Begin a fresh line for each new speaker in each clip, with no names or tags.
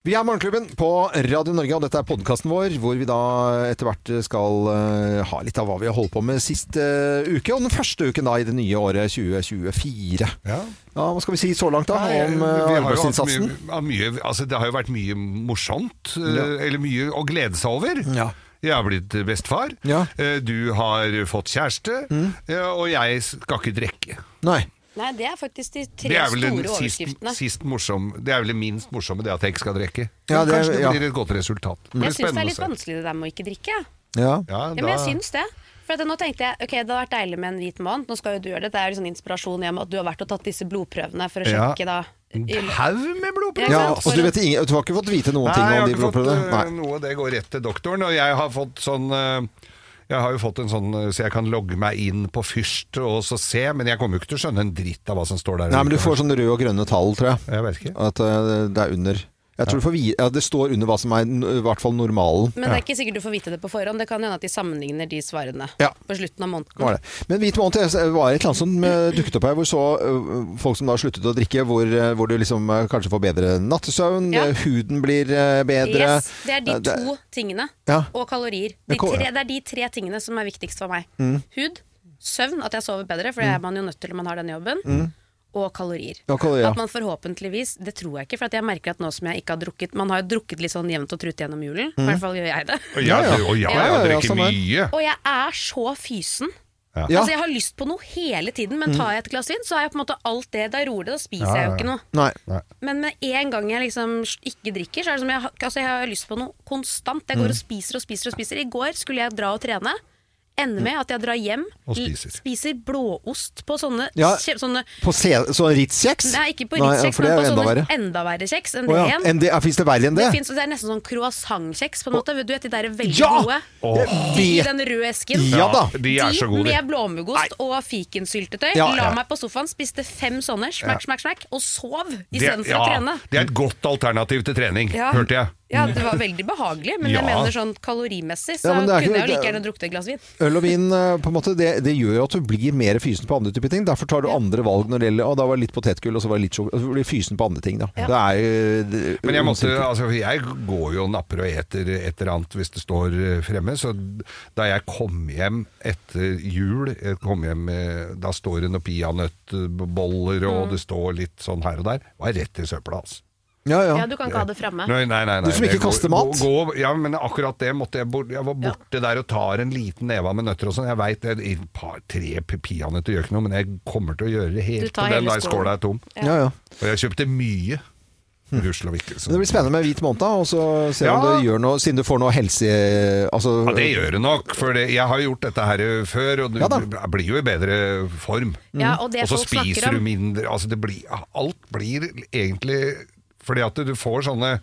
Vi er Morgenklubben på Radio Norge, og dette er podkasten vår, hvor vi da etter hvert skal eh, ha litt av hva vi har holdt på med sist eh, uke, og den første uken da i det nye året 2024.
Ja.
Ja, Hva skal vi si så langt, da?
Nei,
om eh,
vi har jo hatt
arbeidsinnsatsen?
mye- ja, Mye, altså det har jo vært mye morsomt, eh,
Ja.
eller mye å glede seg over.
Ja.
Jeg har blitt bestefar,
Ja. Mm.
eh, du har fått kjæreste, ja, og jeg skal ikke drikke.
Nei.
Nei, det er faktisk de tre
Det er vel
store
den sist,
overskriftene.
sist morsom, det er vel det minst morsomme, det at jeg ikke skal drikke.
Ja,
Men
det er-
Kanskje det
ja.
blir et godt resultat. Det blir
Jeg syns det
spennende
er
å
litt
se.
vanskelig det der med å ikke drikke. jeg.
Ja.
Ja,
Ja, men jeg
da-
syns det. For at nå tenkte jeg, ok, Det hadde vært deilig med en hvit måned. Nå skal jo du gjøre det. Det er jo sånn inspirasjon hjem at du har vært og tatt disse blodprøvene for å
Ja.
sjekke da.
En
i-
haug med blodprøver!
Ja,
ja
sant,
altså,
for-
du, vet, ingen- du har ikke fått vite noen ting
jeg
om
har
de
ikke fått
blodprøvene? Nei.
eh, noe, det går rett til doktoren. Og jeg har fått sånn eh, Jeg har jo fått en sånn eh, så jeg kan logge meg inn på Fyrst og så se, men jeg kommer jo ikke til å skjønne en dritt av hva som står der.
Nei, men du får sånn røde og grønne tall, tror jeg.
Jeg vet ikke.
At eh, det er under. Jeg tror du får vi- ja, det står under hva som er n- i hvert fall normalen.
Men det er ikke sikkert du får vite det på forhånd. Det kan hende at de sammenligner de svarene
Ja.
på slutten av måneden.
var det. Men Hvit måned det var et eller annet som eh, dukket opp her, hvor så eh, folk som da har sluttet å drikke, hvor, eh, hvor du liksom eh, kanskje får bedre nattesøvn,
Ja.
eh, huden blir eh, bedre.
Yes, det er de
Eh,
to tingene.
Ja.
Og kalorier.
Ja,
De
kal-
tre, det er de tre tingene som er viktigst for meg. Hud, søvn, at jeg sover bedre, for det er man jo nødt til når man har den jobben. Og kalorier.
Ja, kalorier, ja.
At man forhåpentligvis Det tror jeg ikke, for at jeg merker at nå som jeg ikke har drukket Man har jo drukket litt sånn jevnt og trutt gjennom julen. I hvert fall gjør jeg det.
Og ja,
Ja, ja.
du- og ja,
Ja,
jeg
ja, ja,
drikker
sånn er.
mye.
Og jeg er så fysen.
Ja.
Altså Jeg har lyst på noe hele tiden, men tar jeg et glass vin, så er jeg på en måte alt det. Da roer det, da spiser
Ja, ja.
jeg jo ikke noe.
Nei.
Men med en gang jeg liksom ikke drikker, så er det som jeg, har- altså jeg har lyst på noe konstant. Jeg
Mm.
går og spiser og spiser og spiser. I går skulle jeg dra og trene. Ender
Mm.
med at jeg drar hjem,
Og
l-
spiser.
spiser blåost på sånne,
Ja.
kje- sånne
På se sånn Ritz-kjeks?
Nei, ikke på
Nei,
Ritz-kjeks,
for det
men
er
på
jo enda
sånne
verre.
enda verre kjeks enn
Å ja.
det igjen.
enn det, Fins det verre enn
Det,
det?
finnes, det er nesten sånn croissantkjeks, på en måte. Du vet de der er veldig
Ja!
gode?
Åh.
De i den røde esken.
Ja da.
De er så gode, de.
med blåmuggost og fikensyltetøy.
Ja,
La
ja.
meg på sofaen, spiste fem sånne, smakk, smakk, smakk, og sov
Det,
istedenfor
ja,
å trene.
det er et godt alternativ til trening,
Ja.
hørte jeg.
Ja, det var veldig behagelig, men
Ja.
jeg mener sånn kalorimessig
Ja,
så
men det er
kunne
ikke-
jeg jo like gjerne drukket et glass vin.
Øl og vin eh, på en måte, det, det gjør jo at du blir mer fysen på andre typer ting. Derfor tar du andre valg når det gjelder Og da var det litt potetgull, og så var det litt sjokolade. Du blir fysen på andre ting, da. Det er eh, jo det-
Men jeg, måtte, altså, jeg går jo og napper og eter et eller annet hvis det står eh, fremme. Så da jeg kom hjem etter jul, jeg kom hjem, eh, da står det noen peanøttboller, og
Mm.
det står litt sånn her og der. Var rett i søpla, altså.
Ja, ja.
Ja, du kan ikke ha det framme.
Nei, nei, nei, nei,
Ah. Du som ikke
det går-
kaster mat?
Gå, gå, ja, men akkurat det måtte jeg bort. Jeg var borte der og tar en liten neve av med nøtter og sånn. Jeg veit et par-tre peanøtter gjør ikke noe, men jeg kommer til å gjøre det
Du
helt
tar
til den
hele
der skåla er tom.
ja, ja.
Og jeg kjøpte mye. Rusla Vikkelsen.
Men det blir spennende med hvit måned, da, og så se om
Ja.
det gjør noe, siden du får noe helse... Altså,
Ja, det gjør det nok, for det, jeg har gjort dette her eh, før, og du
Ja da.
blir jo i bedre form.
Ja, og det
Og så
folk snakker
spiser du
om-
mindre, altså det blir, alt blir egentlig, fordi at du får sånne,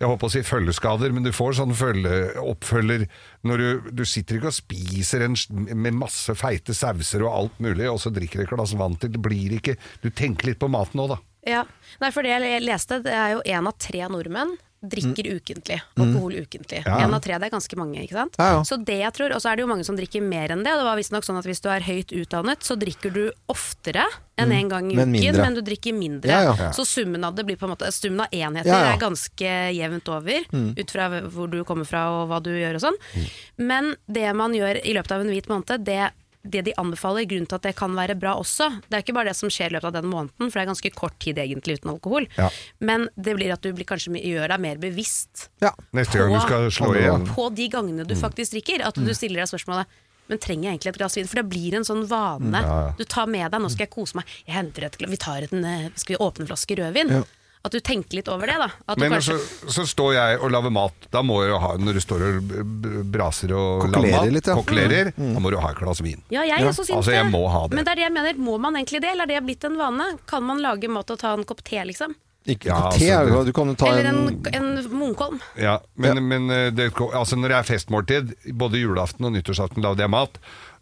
jeg håper å si følgeskader, men du får sånne følge, oppfølger, når du, du sitter ikke og spiser en, s- med masse feite sauser og alt mulig, og så drikker du et glass vann til, det blir ikke, du tenker litt på maten også da.
Ja. Nei, for det jeg leste, det er jo én av tre nordmenn drikker ukentlig. Alkohol ukentlig.
Mm. Ja.
Én av tre, det er ganske mange, ikke sant.
Ja, ja.
Så det jeg tror, Og så er det jo mange som drikker mer enn det. Og det var visstnok sånn at hvis du er høyt utdannet, så drikker du oftere
Mm.
enn én gang i
Men
uken,
mindre.
men du drikker mindre.
Ja, ja.
Så summen av det blir på en måte Summen av enheter
Ja, ja.
er ganske jevnt over,
Mm.
ut fra hvor du kommer fra og hva du gjør og sånn. Men det man gjør i løpet av en hvit måned, det det de anbefaler, grunnen til at det kan være bra også, det er ikke bare det som skjer i løpet av den måneden, for det er ganske kort tid egentlig uten alkohol,
Ja.
men det blir at du blir kanskje mi- gjør deg mer bevisst
Ja.
Neste gang du skal slå
Andre
igjen.
gang.
på de gangene
Mm.
du faktisk drikker, at du stiller deg spørsmålet men trenger jeg egentlig et glass vin? For det blir en sånn vane.
Mm,
Du tar med deg 'nå skal jeg kose meg', jeg henter et glass, vi tar en, eh, skal vi åpne en flaske rødvin? At du tenker litt over det, da. At du
Men altså,
kanskje,
så, så står jeg og lager mat. Da må jeg jo ha, når du står og b- b- braser og
Kokkelerer
lager mat,
litt, ja. Mm.
kokkelerer, da må du ha et glass vin.
Ja, jeg også syns
Altså, jeg må ha det.
Men det er det jeg mener. Må man egentlig det, eller er det blitt en vane? Kan man lage mat og ta en kopp te, liksom?
Ikke
Ja,
te,
altså, det-
du kan jo ta
eller
en,
en, en munkholm?
Ja, men men eh, det, altså, når det er festmåltid, både julaften og nyttårsaften lagde jeg mat,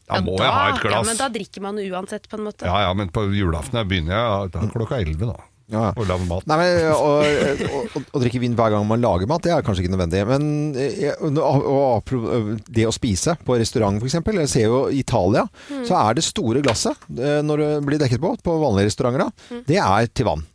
da må jeg ha et
Ja,
glass.
men da drikker man uansett, på en måte.
ja, ja, men på julaften da begynner jeg da er klokka elleve, da.
Ja, ja.
Og lager mat.
Nei, men å, å, å, å drikke vin hver gang man lager mat, det er kanskje ikke nødvendig. Men eh, og- og apro- det å spise på restaurant f.eks. Jeg ser jo i Italia,
Mm.
så er det store glasset
Mm.
eh, når det blir dekket på, på vanlige restauranter, da, det er til vann.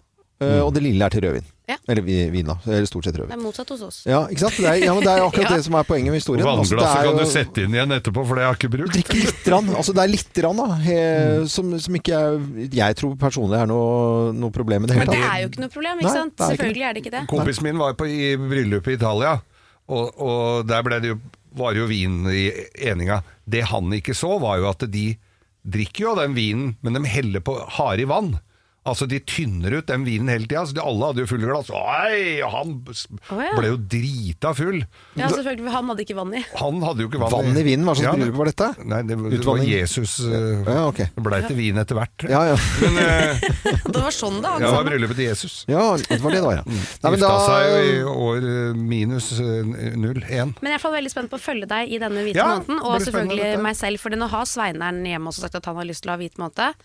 Eh, Og det lille er til rødvin.
Mm. Ja.
Eller vi- vin, da. Eller stort sett
Det
rødvin.
er motsatt hos oss.
Ja, ikke sant? Det er, ja, men det er akkurat
Ja.
det som er poenget med historien. Altså, det
Vannglasset
er
kan du
jo-
sette inn igjen etterpå, for det har jeg ikke brukt.
Drikke litt, rann, altså det er litt rann, da, he,
Mm.
som, som ikke jeg, jeg tror personlig er noe, noe problem i det
Men
hele
det
tatt.
er jo ikke noe problem,
Nei,
ikke
det
sant?
er ikke det.
Selvfølgelig er det ikke det.
Kompisen min var på, i bryllup i Italia, og, og der ble det jo, var jo vin i eninga. Det han ikke så, var jo at de drikker jo av den vinen, men de heller på hare i vann. Altså De tynner ut den vinen hele tida. Så de alle hadde jo fulle glass. Oi, og han s-
Å, ja.
ble jo drita full.
Ja, altså- selvfølgelig, for Han hadde ikke vann i.
Han hadde jo ikke vann,
Vann i vinen, hva slags
Ja, det-
bryllup var dette?
Nei, det, det var
Utvanning?
Jesus. eh,
Ja, ok.
Det blei til vin etter hvert.
Ja, ja.
Men eh,
Det var sånn det
ja, det var
hang sammen.
bryllupet til Jesus.
ja, det var det det var, ja. Nei, men
Mm. Gifta
da-
seg jo i år eh, minus eh, null, én.
Men jeg er i hvert fall veldig spent på å følge deg i denne hvite
Ja, det
måneden,
blir spennende,
og selvfølgelig
dette.
meg selv, for nå har Sveineren hjemme også sagt at han har lyst til å ha hvit måned.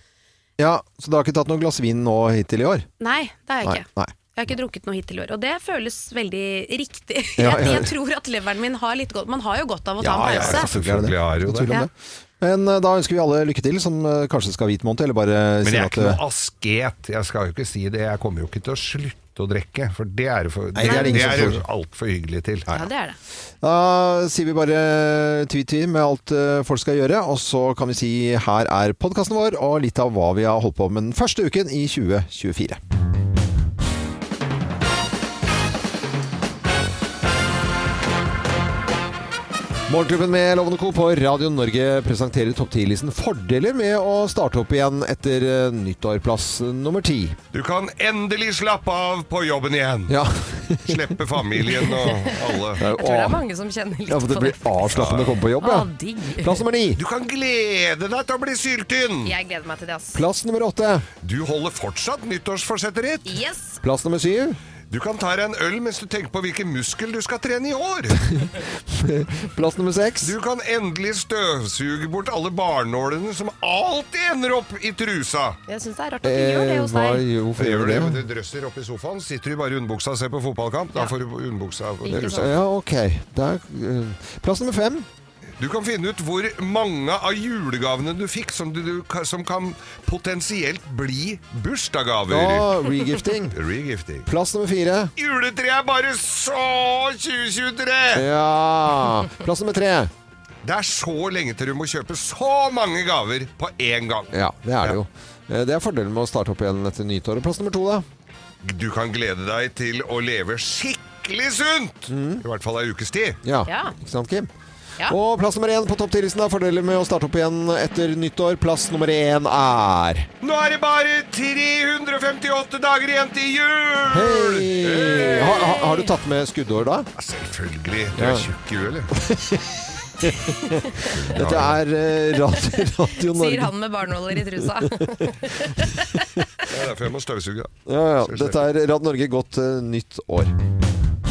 ja, så du har ikke tatt noe glass vin nå hittil i år?
Nei, det har jeg
Nei,
ikke.
nei.
Jeg har ikke drukket noe hittil i år, og det føles veldig riktig.
Ja,
jeg,
ja.
jeg tror at leveren min har litt godt Man har jo godt av å ta
Ja,
en
ja,
pause.
ja, selvfølgelig er det.
Selvfølgelig er det
Ikke
jo
noe tvil om
det.
det. Men eh, da ønsker vi alle lykke til, som eh, kanskje skal ha hvit måned, eller bare
Men
si
jeg er
at
ikke
eh,
noe asket. Jeg skal jo ikke si det. Jeg kommer jo ikke til å slutte å drikke, for det er det for,
Nei, det er det
det
ingen som
er jo
tror.
altfor hyggelig til.
Ja, det er det.
Da sier vi bare tvi-tvi med alt eh, folk skal gjøre, og så kan vi si her er podkasten vår og litt av hva vi har holdt på med den første uken i 2024. Morgenklubben med Lovende Co. på Radio Norge presenterer topp 10-listen fordeler med å starte opp igjen etter eh, nyttårplass nummer ti.
Du kan endelig slappe av på jobben igjen.
Ja.
Slippe familien og alle.
Jeg tror det er mange som kjenner litt
Ja, for det
på det.
blir avslappende å komme på jobb, ja.
Å, digg.
Plass nummer ni.
Du kan glede deg til å bli syltynn!
Jeg gleder meg til det, ass.
Plass nummer åtte.
Du holder fortsatt nyttårsforsettet ditt.
Yes!
Plass nummer syv.
Du kan ta deg en øl mens du tenker på hvilken muskel du skal trene i år.
Plass nummer seks.
Du kan endelig støvsuge bort alle barnålene som alltid ender opp i trusa.
Jeg syns det er rart at du gjør det hos
Eh, hva,
deg.
jo, hvorfor gjør
Gjør
vi
det,
det?
men du drøsser opp i sofaen, sitter du bare i underbuksa og ser på fotballkamp, da får du underbuksa og
Ikke
trusa.
sant.
Ja, ok. Der, eh, plass nummer fem.
Du kan finne ut hvor mange av julegavene du fikk som, du, du- som kan potensielt bli bursdagsgaver.
Ja, regifting.
Regifting.
Plass nummer fire.
Juletreet er bare så 2023!
Ja. Plass nummer tre.
Det er så lenge til du må kjøpe så mange gaver på én gang.
Ja, det er det jo. Eh, Det er fordelen med å starte opp igjen etter nyttåret. Plass nummer to, da.
Du kan glede deg til å leve skikkelig sunt! I hvert fall ei ukes tid.
Ja.
Ja.
Ikke sant, Kim?
Ja.
Og plass nummer én på topp 10-listen er fordelen med å starte opp igjen etter nyttår. Plass nummer én er
Nå er det bare 358 dager igjen til jul!
Hei! Ha, ha, har du tatt med skuddår, da?
Ja, Selvfølgelig. Du
Ja.
er tjukk i huet, eller?
Dette er eh, Radio, radio
Sier
Norge.
han med barnåler i trusa.
Det er derfor jeg må støvsuge. da.
Ja, ja. Dette er Radio Norge. Godt eh, nytt år.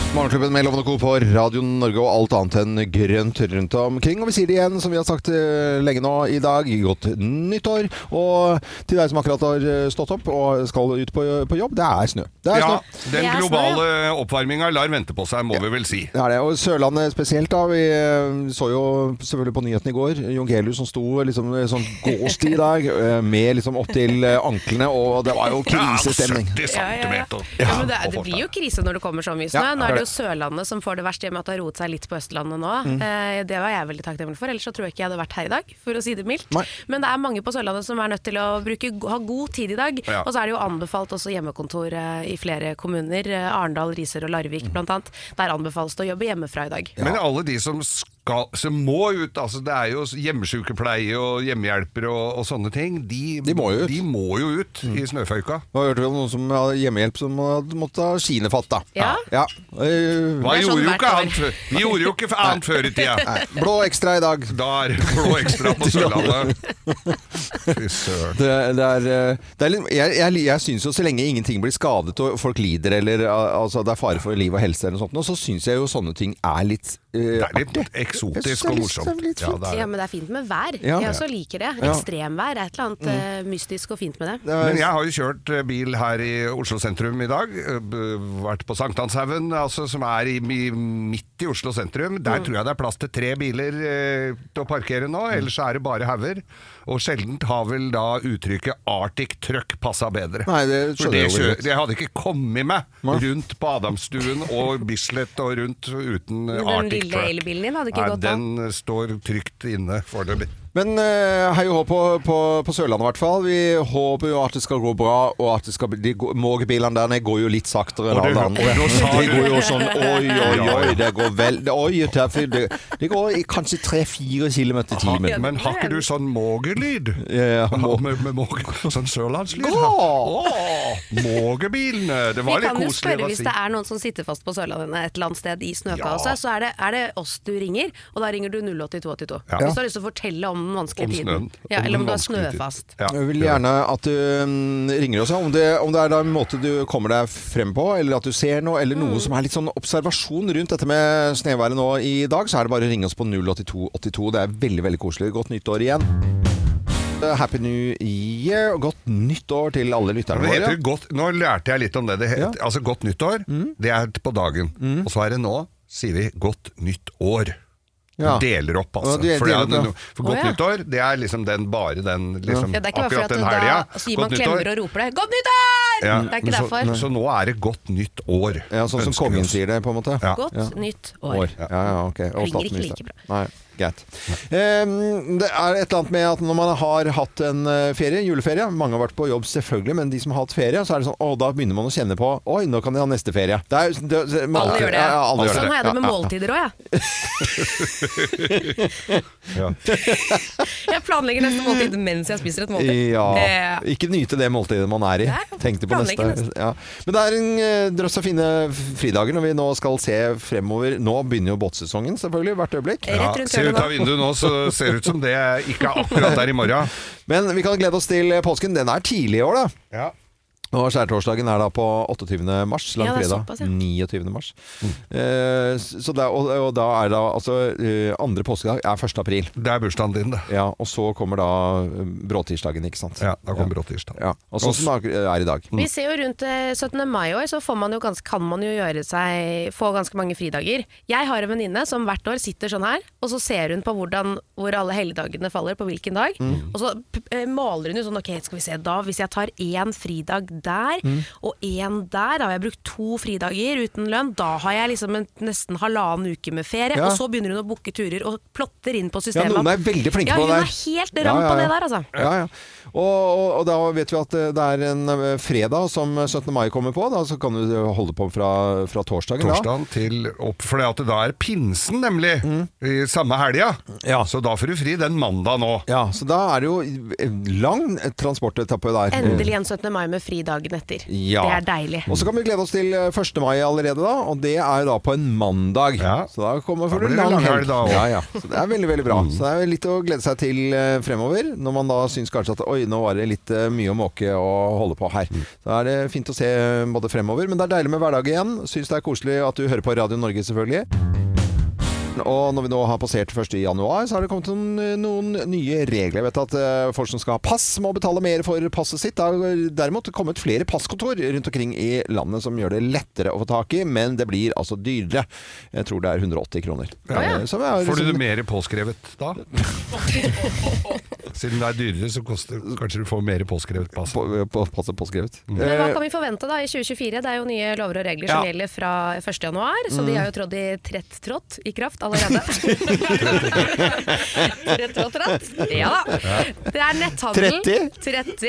Morgenklubben med Lovende Co. på Radio Norge og alt annet enn grønt rundt omkring. Og vi sier det igjen, som vi har sagt eh, lenge nå i dag, godt nyttår. Og til deg som akkurat har eh, stått opp og skal ut på, eh, på jobb, det er snø. Det er
Ja,
snø.
den
Jeg er
globale oppvarminga lar vente på seg, må vi vel si.
Det er det, og Sørlandet spesielt da, vi eh, så jo selvfølgelig på nyheten i går, Jon Gelius som sto liksom eh, sånn gåsti der, eh, med liksom opp til eh, anklene, og det var jo krisestemning.
Ja,
Ja, 70
ja, ja.
centimeter.
Ja, men det, er- det blir jo krise når det kommer så mye snø.
Ja,
Nå er
det er
det jo Sørlandet som får det verst, i og med at det har roet seg litt på Østlandet nå. Eh, det var jeg veldig takknemlig for, ellers så tror jeg ikke jeg hadde vært her i dag, for å si det mildt.
Nei.
Men det er mange på Sørlandet som er nødt til å bruke, ha god tid i dag.
Ja.
Og så er det jo anbefalt også hjemmekontor eh, i flere kommuner. Eh, Arendal, Risør og Larvik blant annet. Der anbefales det å jobbe hjemmefra i dag.
Men alle de som, skal, som må ut, altså det er jo hjemmesykepleie og hjemmehjelpere og, og sånne ting, de,
De må jo ut.
de må jo ut i snøføyka.
Nå hørte vi om noen som hadde hjemmehjelp som hadde måttet ha skinefatt, da.
Ja.
Eh,
Hva
Det er sånn
gjorde jo
hvert
ikke
år.
annet før? Vi gjorde jo ikke annet før i tida.
nei, blå ekstra i dag.
Da er det blå ekstra på Sørlandet. Fy søren.
Det, det er, eh, det er litt, jeg jeg, jeg syns jo så lenge ingenting blir skadet og folk lider eller eh, altså, det er fare for liv og helse eller noe sånt, nå, så syns jeg jo sånne ting er litt
Det er litt eksotisk og morsomt. Ja, det
Ja,
er. det.
men det er fint med vær.
Ja.
Jeg også liker det.
Ja.
Ekstremvær er et eller annet eh, mystisk og fint med det.
Men jeg har jo kjørt eh, bil her i Oslo sentrum i dag. eh, b- Vært på Sankthanshaugen, altså, som er i, mi- midt i Oslo sentrum.
Mm.
Der tror jeg det er plass til tre biler eh, til å parkere nå, ellers så er det bare hauger. Og sjeldent har vel da uttrykket 'Arctic truck' passa bedre.
Nei, det
For
skjønner jeg jo
det
veldig
kjø-
godt.
Jeg hadde ikke kommet meg
Nei.
rundt på Adamstuen og Bislett og rundt uten eh,
Men Den
Arctic
lille
truck.
elbilen din hadde ikke
Nei,
gått an.
den eh, står trygt inne foreløpig.
Men eh, hei og hå på, på, på Sørlandet i hvert fall. Vi håper jo at det skal gå bra, og at det skal bli de gå- Mågebilene der nede går jo litt saktere enn
Og det-
alle andre.
og nå sa
De
du-
går jo sånn oi, oi,
Ja,
oi,
ja.
det går vel det, Oi, tøff, det, det går i kanskje tre-fire kilometer i timen.
Men har ikke du sånn mågelyd?
Ja, må-
med, med måge, sånn sørlandslyd?
Gå!
Åh, Mågebilene! Det
Vi
var litt
kan jo
koselig
spørre
å
hvis
si.
det er noen som sitter fast på Sørlandet et eller annet sted i snøkaoset,
Ja.
så er det, er det oss du ringer, og da ringer du 08282.
Ja.
Hvis du har lyst til å fortelle om den vanskelige
Om snøen.
tiden. Ja,
Om
eller
den
om du er
vanskelige tiden.
snøfast.
Ja.
Jeg vil gjerne at du mm, ringer oss, ja, om det, om det er da en måte du kommer deg frem på, eller at du ser noe, eller
Mm.
noe som er litt sånn observasjon rundt dette med snøværet nå i dag, så er det bare å ringe oss på 08282. Det er veldig, veldig koselig. Godt nytt år igjen. Eh, Happy New Year, og godt nytt år til alle lytterne
Det
våre.
heter godt, nå lærte jeg litt om det. det het, Altså Godt nyttår,
Mm.
det er på dagen. Og så er det nå, sier vi, godt nytt år.
Ja.
Deler opp,
Ja,
altså.
de
for, det er
deler opp, ja.
no- for godt
Å, ja.
nyttår, det er liksom den bare den liksom,
Ja, det er ikke bare
Akkurat
fordi
den
at
helga.
da gir man klemmer og roper det 'Godt nyttår!'
Ja,
Det er ikke
men så,
derfor.
Så nå er det godt nytt år.
Ja, sånn som
ønsker vi
kongen
oss.
sier det, på en måte.
Ja.
Godt nytt år.
År. Ja, ja, ok. Og
Klinger ikke like
statsminister.
bra.
Nei, greit. Ehm, det er et eller annet med at når man har hatt en eh, ferie, juleferie Mange har vært på jobb, selvfølgelig, men de som har hatt ferie, så er det sånn Å, da begynner man å kjenne på Oi, nå kan jeg ha neste ferie. Det er, jo- sånn, det, det, man,
Alle gjør det.
Ja, ja, alle gjør
sånn har jeg det med
Ja, ja.
måltider òg, jeg.
Ja.
Jeg planlegger neste måltid mens jeg spiser et måltid. Eh,
Ja.
Det-
Ikke nyte det måltidet man er i.
Nei,
Tenk det på
planlegge
neste.
neste.
Ja. Men det er en eh, drøss av fine fridager når vi nå skal se fremover. Nå begynner jo båtsesongen, selvfølgelig, hvert øyeblikk.
Rett rundt
ser
hjørnet
ut av
nå.
vinduet nå, så ser det ut som det ikke er akkurat der i morgen.
Men vi kan glede oss til påsken. Den er tidlig i år, da.
Ja.
Og skjærtorsdagen er da på 28. mars,
Ja, det er
langfredag.
såpass, ja.
29. mars.
Mm.
Eh, så det er- og, og da er da altså eh, Andre påskedag er 1. april.
Det er bursdagen din, det.
Ja, og så kommer da eh, bråtirsdagen, ikke sant.
Ja, da kommer Mm. bråtirsdag.
Ja, og sånn som det er i dag.
Vi ser jo rundt eh, 17. mai i år, så får man jo ganske, kan man jo gjøre seg, få ganske mange fridager. Jeg har en venninne som hvert år sitter sånn her, og så ser hun på hvordan, hvor alle helligdagene faller, på hvilken dag.
Mm.
Og så p- eh, måler hun jo sånn, ok, skal vi se da, hvis jeg tar én fridag der,
Mm.
og én der, da har jeg brukt to fridager uten lønn, da har jeg liksom en, nesten halvannen uke med ferie,
Ja.
og så begynner hun å booke turer og plotter inn på
Ja,
systemet.
noen
at-
er veldig flinke
Ja,
på det
hun
der.
er helt ram på det der, altså.
Ja, ja. Og, og, og da vet vi at eh, det er en eh, fredag som 17. mai kommer på. Da så kan du eh, holde på fra, fra torsdagen. da.
Torsdagen til opp, for det at det da er pinsen, nemlig, i samme helga.
Mm. Ja.
Så da får du fri den mandag nå.
Ja, så da er det jo en lang transportetappe der.
Endelig en 17. mai med fri dagen etter.
Mm. Ja.
Det er deilig.
Og så kan vi glede oss til eh, 1. mai allerede, da. Og det er da på en mandag.
Ja.
Så da kommer
Da
for en
blir det
lang helg.
langhelg da også. Mm.
Ja, ja. Så det er veldig, veldig bra. Så det er litt å glede seg til eh, fremover. Når man da syns kanskje at oi, nå var det litt eh, mye å måke og holde på
Mm.
her. Så er det fint å se eh, både fremover. Men det er deilig med hverdag igjen. Syns det er koselig at du hører på Radio Norge, selvfølgelig. Og når vi nå har passert 1. januar, så har det kommet noen, noen nye regler. Jeg vet at eh, folk som skal ha pass, må betale mer for passet sitt. Det har derimot kommet flere passkontor rundt omkring i landet som gjør det lettere å få tak i, men det blir altså dyrere. Jeg tror det er 180 kroner. Eh, som er
Får
liksom-
du det mer påskrevet da? Siden det er dyrere, så koster, kanskje du får mer påskrevet pass.
på, på, passet påskrevet.
Men hva kan vi forvente da i 2024? Det er jo nye lover og regler
Eh, Ja.
som
Mm.
gjelder fra 1. januar, så de har jo trådt i trett trådt i kraft allerede. trett trådt tratt. Ja da. Det er netthandel.
30?
30.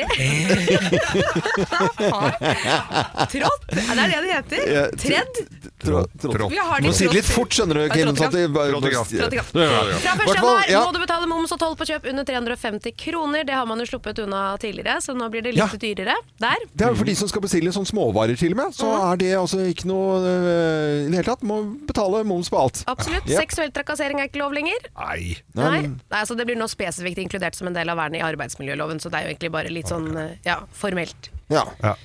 trått? Ja, Det er det det heter.
Ja,
Tredd.
Trå- trå-
Trått.
Vi har
Du må
de
si det litt
trådt-
fort, skjønner du.
Ja,
Kim, sånn at det bare-
Trådt i kraft.
Trådt i kraft.
Ja, ja, ja.
Fra 1.
Hvert fall,
januar
ja.
må du betale moms og toll på kjøp under 350 kroner. Det har man jo sluppet unna tidligere, så nå blir det litt
Ja.
dyrere der.
Det er jo for de som skal bestille sånn småvarer til og med, så er det altså ikke noe eh, i det hele tatt. Må betale moms på alt.
Absolutt.
Ja.
Seksuell trakassering er ikke lov lenger.
Nei.
Nei,
Nei,
men-
Nei altså Det blir nå spesifikt inkludert som en del av vernet i arbeidsmiljøloven, så det er jo egentlig bare litt sånn eh, ja, formelt.
Ja.
Ja.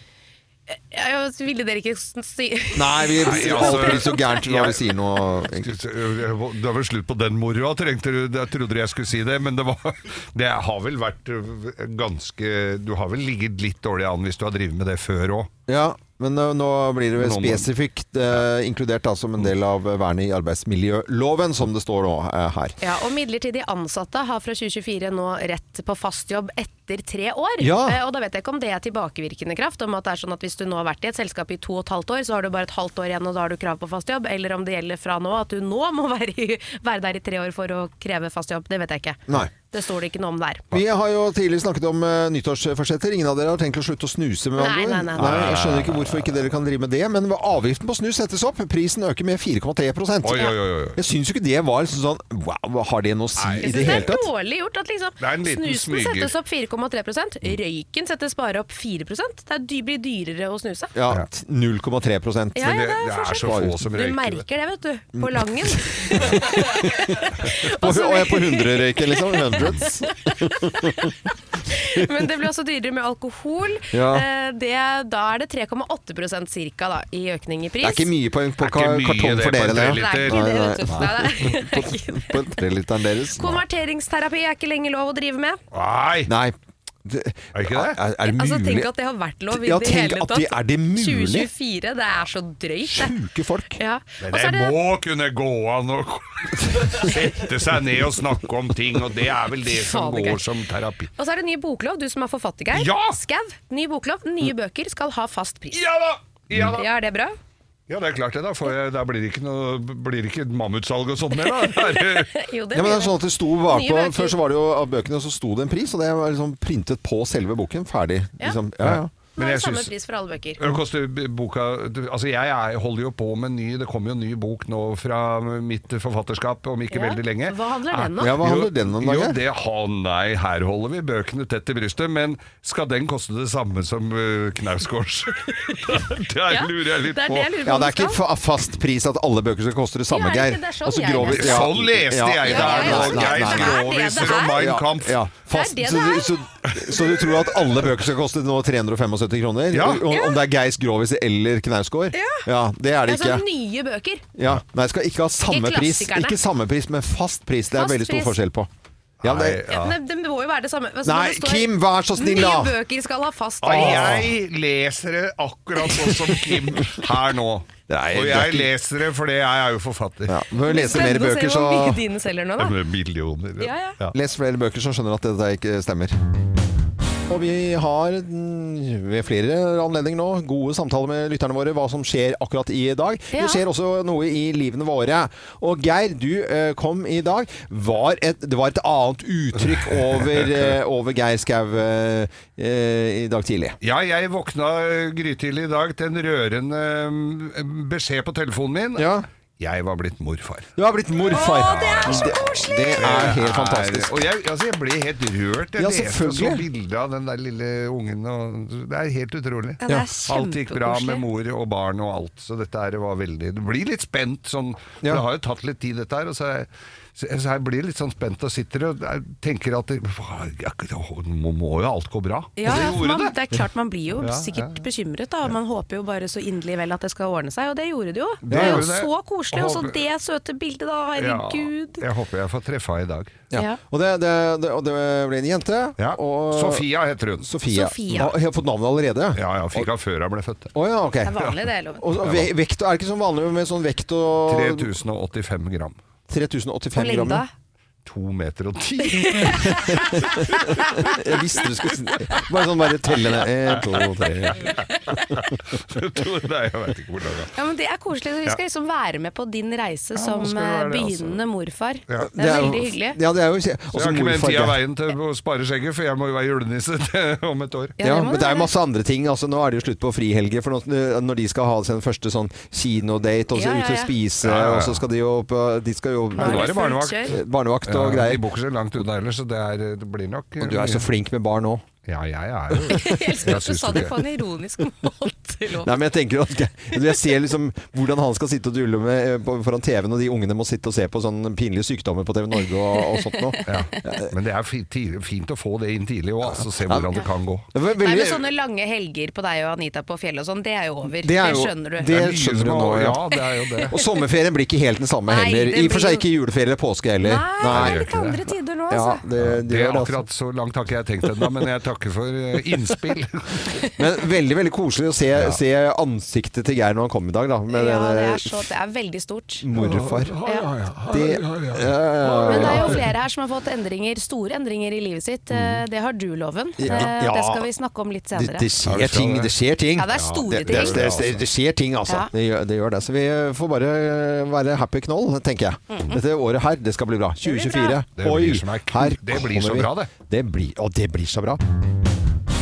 Jeg ville dere ikke si
Nei, vi
Nei, altså-
alt blir så gærent når vi sier noe. egentlig.
Det er vel slutt på den moroa, trengte du. Jeg trodde jeg skulle si det, men det, var, det har vel vært øh, ganske Du har vel ligget litt dårlig an hvis du har drevet med det før òg.
Ja, men eh, nå blir det vel
Noen-
spesifikt eh, inkludert da, som en del av vernet i arbeidsmiljøloven, som det står nå eh, her.
Ja, og midlertidig ansatte har fra 2024 nå rett på fast jobb etter tre år.
Ja.
Eh, og da vet jeg ikke om det er tilbakevirkende kraft, om at det er sånn at hvis du nå har vært i et selskap i to og et halvt år, så har du bare et halvt år igjen og da har du krav på fast jobb, eller om det gjelder fra nå at du nå må være, i, være der i tre år for å kreve fast jobb. Det vet jeg ikke.
Nei.
Det står det ikke noe om der.
Vi har jo tidligere snakket om eh, nyttårsforsetter. Ingen av dere har tenkt å slutte å snuse? med andre
Nei,
ord.
nei, nei, nei.
Jeg skjønner ikke hvorfor ikke dere kan drive med det, men avgiften på snus settes opp. Prisen øker med 4,3
Oi, oi, oi, oi.
Jeg syns jo ikke det var sånn Wow, har det noe å si
Nei.
i det
Jeg synes det
hele
er
tatt?
dårlig gjort at liksom
Det er en liten
snusen
smyger.
settes opp 4,3
Mm.
røyken settes bare opp 4 Det er dy- blir dyrere å snuse.
Ja, 0,3
Ja,
Men det,
ja, det er
det er
forskjell.
så få som
Du
røyker det.
merker det, vet du. På langen.
Mm.
Altså,
På, og jeg er på 100-røyken, liksom. Hundreds.
Men det blir også dyrere med alkohol.
Ja.
Eh, Det, da er det 3,8 cirka da, i økning i pris.
Det er ikke mye på en på
Det er
ka
ikke mye
kartong
det
for
på en
dere, det.
treliter.
Det er ikke
Nei,
det,
nei,
vet du. Nei, det er ikke det.
På treliteren deres.
Konverteringsterapi er ikke lenger lov å drive med.
Nei!
Nei. Det,
Er det ikke det?
Er, er det mulig?
Altså, tenk at det har vært lov i
Ja,
det
tenk
hele
at
tatt.
det- er det mulig?
2024, det er så drøyt. det.
Sjuke folk.
Ja.
Men
Og så er
det må kunne gå an å sette seg ned og snakke om ting, og det er vel det som
Faen, det er
går
gøy.
som terapi.
Og så er det ny boklov, du som er forfatter, Geir.
Ja! Mm.
Skau, ny boklov, nye bøker skal ha fast pris.
Ja da! Ja da!
Ja, er det bra?
Ja, det er klart det, da. For jeg, da blir det ikke noe blir det ikke mammutsalg og sånt mer, da. Det er,
Jo, det
Ja, men det
blir
er
det.
sånn at det sto
Nye
bakpå
bøker.
Før så var det jo av bøkene så sto det en pris, og det var liksom printet på selve boken. Ferdig.
Ja.
Liksom. Ja, ja.
Nå
men
er
jeg
det samme
synes-
pris for alle bøker.
Det koster b- boka du- Altså, jeg er, holder jo på med en ny Det kommer jo en ny bok nå fra mitt forfatterskap om ikke
Ja.
veldig lenge.
Hva handler den om?
Ja, hva handler
Jo-
den om,
Jo,
Dager?
det har Nei, her holder vi bøkene tett til brystet, men skal den koste det samme som uh, Knausgårds? Der
Ja,
lurer jeg litt
det er
på.
det jeg lurer på
Ja,
om
det er
du
ikke
skal.
fa- fast pris at alle bøker skal koste det samme,
Ja, er det
Geir.
ikke? Det er sånn
Altså,
jeg
Grovis-
leser.
ja.
Sånn leste jeg
Ja,
det
ja,
her
ja, ja,
nå!
ja,
Geir
ja, ja, ja.
Groviser
Det
og
er
Mein
Ja,
Kampf.
ja. Fast,
Det er det
så,
det er.
så, så du tror at alle bøker skal koste nå 375 kroner?
Ja.
Og- og- Om det er Geis Grovis eller Knausgård? Ja. det er det
Altså,
ikke.
nye bøker.
Ja. Nei, skal ikke ha samme
Ikke
pris,
klassikerne.
ikke samme pris, men fast pris. Det er
Fast
veldig stor
pris.
forskjell på. Ja, men det,
Nei, ja.
Nei, det må jo være det samme. Altså, når
nei,
det står,
Kim, vær så snill, da!
Nye bøker skal ha fast
Og
pris.
jeg leser det akkurat sånn som Kim her nå.
Nei,
og
det er
jeg
ikke-
leser det fordi jeg er jo forfatter.
Ja, Bør lese mer
Spennende å
bøker,
se hvor mye
så
dine selger nå, da.
Med Millioner.
Ja, ja.
Les flere bøker som skjønner at dette ikke stemmer. Og vi har mm, ved flere anledninger nå gode samtaler med lytterne våre hva som skjer akkurat i dag.
Ja.
Det skjer også noe i livene våre. Og Geir, du eh, kom i dag. Var et, det var et annet uttrykk over, eh, over Geir Skau eh, eh, i dag tidlig.
Ja, jeg våkna eh, grytidlig i dag til en rørende mm, beskjed på telefonen min.
Ja.
Jeg var blitt morfar. Eh,
Du har blitt morfar.
Å, det er så
Det, det er helt fantastisk.
Og jeg, altså, jeg ble helt rørt. Jeg
Ja,
leste og så
selvfølgelig.
bilde av den der lille ungen. Og det er helt utrolig.
Ja, det er
Alt gikk bra
kjempekoselig.
med mor og barn og alt. Så dette her var veldig Du blir litt spent sånn. for
Ja.
Det har jo tatt litt tid, dette her. Og så, er- så, så jeg blir litt sånn spent og sitter og er- tenker at det, hva- ja, det må, må jo alt gå bra.
Ja,
og det
ja, for
gjorde
man,
det.
det er klart man blir jo
Ja, ja,
sikkert bekymret, da. Man håper jo bare så inderlig vel at det skal ordne seg, og det gjorde det jo. Det er jo
gjorde det.
så koselig, og så
Håper-
det søte bildet, da. Herregud.
Ja, jeg håper jeg får treffe henne i dag.
Ja.
Ja.
Og, det, det, det, og det ble en jente.
Ja.
Og
Sofia heter hun.
Sofia.
Sofia.
Ja, jeg har fått navnet allerede?
Ja, ja, fikk henne før hun ble født.
Å ja, ok.
Det er vanlig, det, Loven.
Og ve vekt, er det ikke sånn vanlig med sånn vekt og
3085 gram.
3085
Og
gram?
Linda.
To meter og ti.
Jeg visste du skulle si- Bare sånn bare telle ned. En, to, tre.
Nei, jeg vet ikke hvordan det er.
Ja, men Det er koselig. Vi skal liksom være med på din reise som
nå skal vi
eh,
være det, altså.
begynnende morfar.
Ja.
Det er
jo-
veldig hyggelig.
Ja, det er jo kje-
Så
også
jeg har ikke mer enn
morfar,
tid av
ja.
veien til å spare skjegget, for jeg må jo være julenisse til- om et år.
Ja, det
Ja,
må
men
det
det er jo
være.
masse andre ting. Altså, nå er det jo slutt på frihelger. For nå- eh, når de skal ha sin første sånn kinodate, og så
Ja, ja,
ut og
ja.
spise,
Ja, ja, ja.
og så skal de jo på De skal jo
Men nå er det barnevakt.
Fullt kjør.
barnevakt og
Ja, de
greier.
bor ikke så langt unna ellers, så det, er, det blir nok eh,
Og du er så flink med barn òg.
Ja, jeg er jo
Jeg elsker
Jeg
at du
syns
sa
det.
det på en ironisk måte. Lov.
Nei, men jeg tenker at jeg, jeg ser liksom hvordan han skal sitte og dulle med eh, på- foran TV-en, og de ungene må sitte og se på sånne pinlige sykdommer på TV Norge og, og sånt noe.
ja. Men det er fi- ti- fint å få det inn tidlig òg, altså, se hvordan det kan gå.
Det var
Nei, men
veldig-
sånne lange helger på deg og Anita på fjellet og sånn, det er jo over. Det,
Det er jo-
skjønner du.
det-
mye
skjønner du
som
nå,
er-
ja.
ja. Det er jo det.
Og sommerferien blir ikke helt den samme
Nei,
heller.
det
I og for seg
blir
ikke juleferie eller påske heller.
Nei, det altså. er litt andre tider nå,
Ja,
altså.
det, det
Eh, Det
gjør det,
er
altså.
akkurat så langt har ikke jeg tenkt ennå, men jeg takker for eh, innspill.
Men veldig veldig koselig å se, se ansiktet til Geir når han kom i dag, da. Med
Ja, det
denne
er, så, det er veldig stort.
morfar. Det,
Men det
ja, Mm.
er jo flere her som har fått endringer, store endringer i livet sitt. Eh, Det har du, Loven. Eh,
Ja.
Det skal vi snakke om litt
det, det
senere.
Ja, det
skjer
skal
ting,
det.
det skjer ting.
Ja, det er store
det,
ting.
det, det, det, det skjer ting, altså.
Ja.
Det, gjør, det gjør det. Så vi eh, får bare eh, være happy knoll, tenker
Mm.
jeg. Dette året her, det skal bli bra. 2024.
Det blir som er kul.
her
Det blir så
kommer vi.
bra, det.
det blir, og det blir så bra.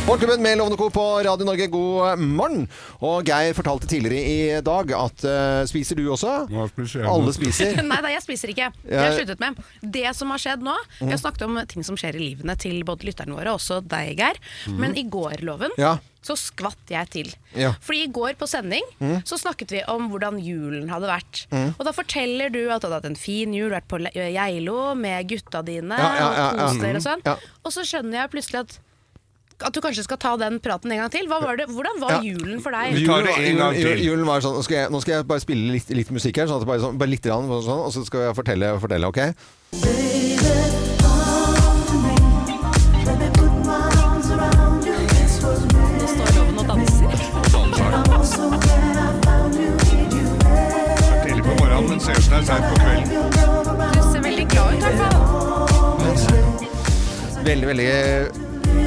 Morgenklubben med Lovende Co. på Radio Norge, god eh, morgen! Og Geir fortalte tidligere i dag at eh, spiser du også?
Nå spiser jeg.
Alle spiser.
Nei, nei, jeg spiser ikke. Det har jeg sluttet med. Det som har skjedd nå Jeg
Mm.
har snakket om ting som skjer i livene til både lytterne våre og også deg, Geir. Men i går, Loven,
Mm. Ja.
så skvatt jeg til.
Ja. Mm.
Fordi i går på sending så snakket vi om hvordan julen hadde vært. Og da forteller du at du hadde hatt en fin jul, vært på Le- Geilo med gutta dine
Ja, ja, ja,
og
ja.
kost dere og sånn.
Ja.
Og så skjønner jeg plutselig at at du kanskje skal ta den praten en gang til. Hva var det, hvordan var
Ja.
julen for deg?
Vi tar det
Julen-
en gang til.
Julen, julen var sånn, nå skal, jeg, nå skal jeg bare spille litt, litt musikk her, sånn at det bare, sånn, bare litt, grann, sånn, og så skal jeg fortelle, fortelle ok?
Nå står Loven og danser.
Tidlig på morgenen, men ser ut som det er seint på kvelden.
Du ser veldig glad ut, i hvert fall.
Veldig, eh,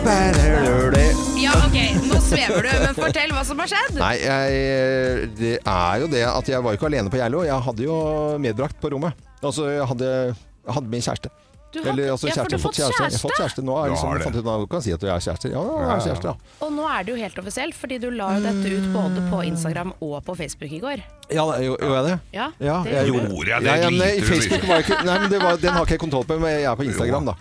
veldig
Ja, ok, nå svever du, men fortell hva som har skjedd.
Nei, jeg, eh, det er jo det at jeg var jo ikke alene på Geilo. Jeg hadde jo medbrakt på rommet. Altså, jeg hadde, jeg hadde min kjæreste.
Du hadde- ja, for du har fått
Jeg har fått kjæreste nå. Jeg
Du
liksom,
har det.
fant ut at du kan si at du er kjæreste. Ja, jeg er kjæreste, ja.
Og nå er det jo helt offisielt, fordi du la jo dette ut både på Instagram og på Facebook i går.
Ja, da, gjorde gjorde jeg det?
Ja, det
jeg
gjorde du. Gjorde jeg det?
Ja, ja, men
Driter du i det?
Facebook var ikke, nei, men det var, den har ikke jeg kontroll på, men jeg er på Instagram, da.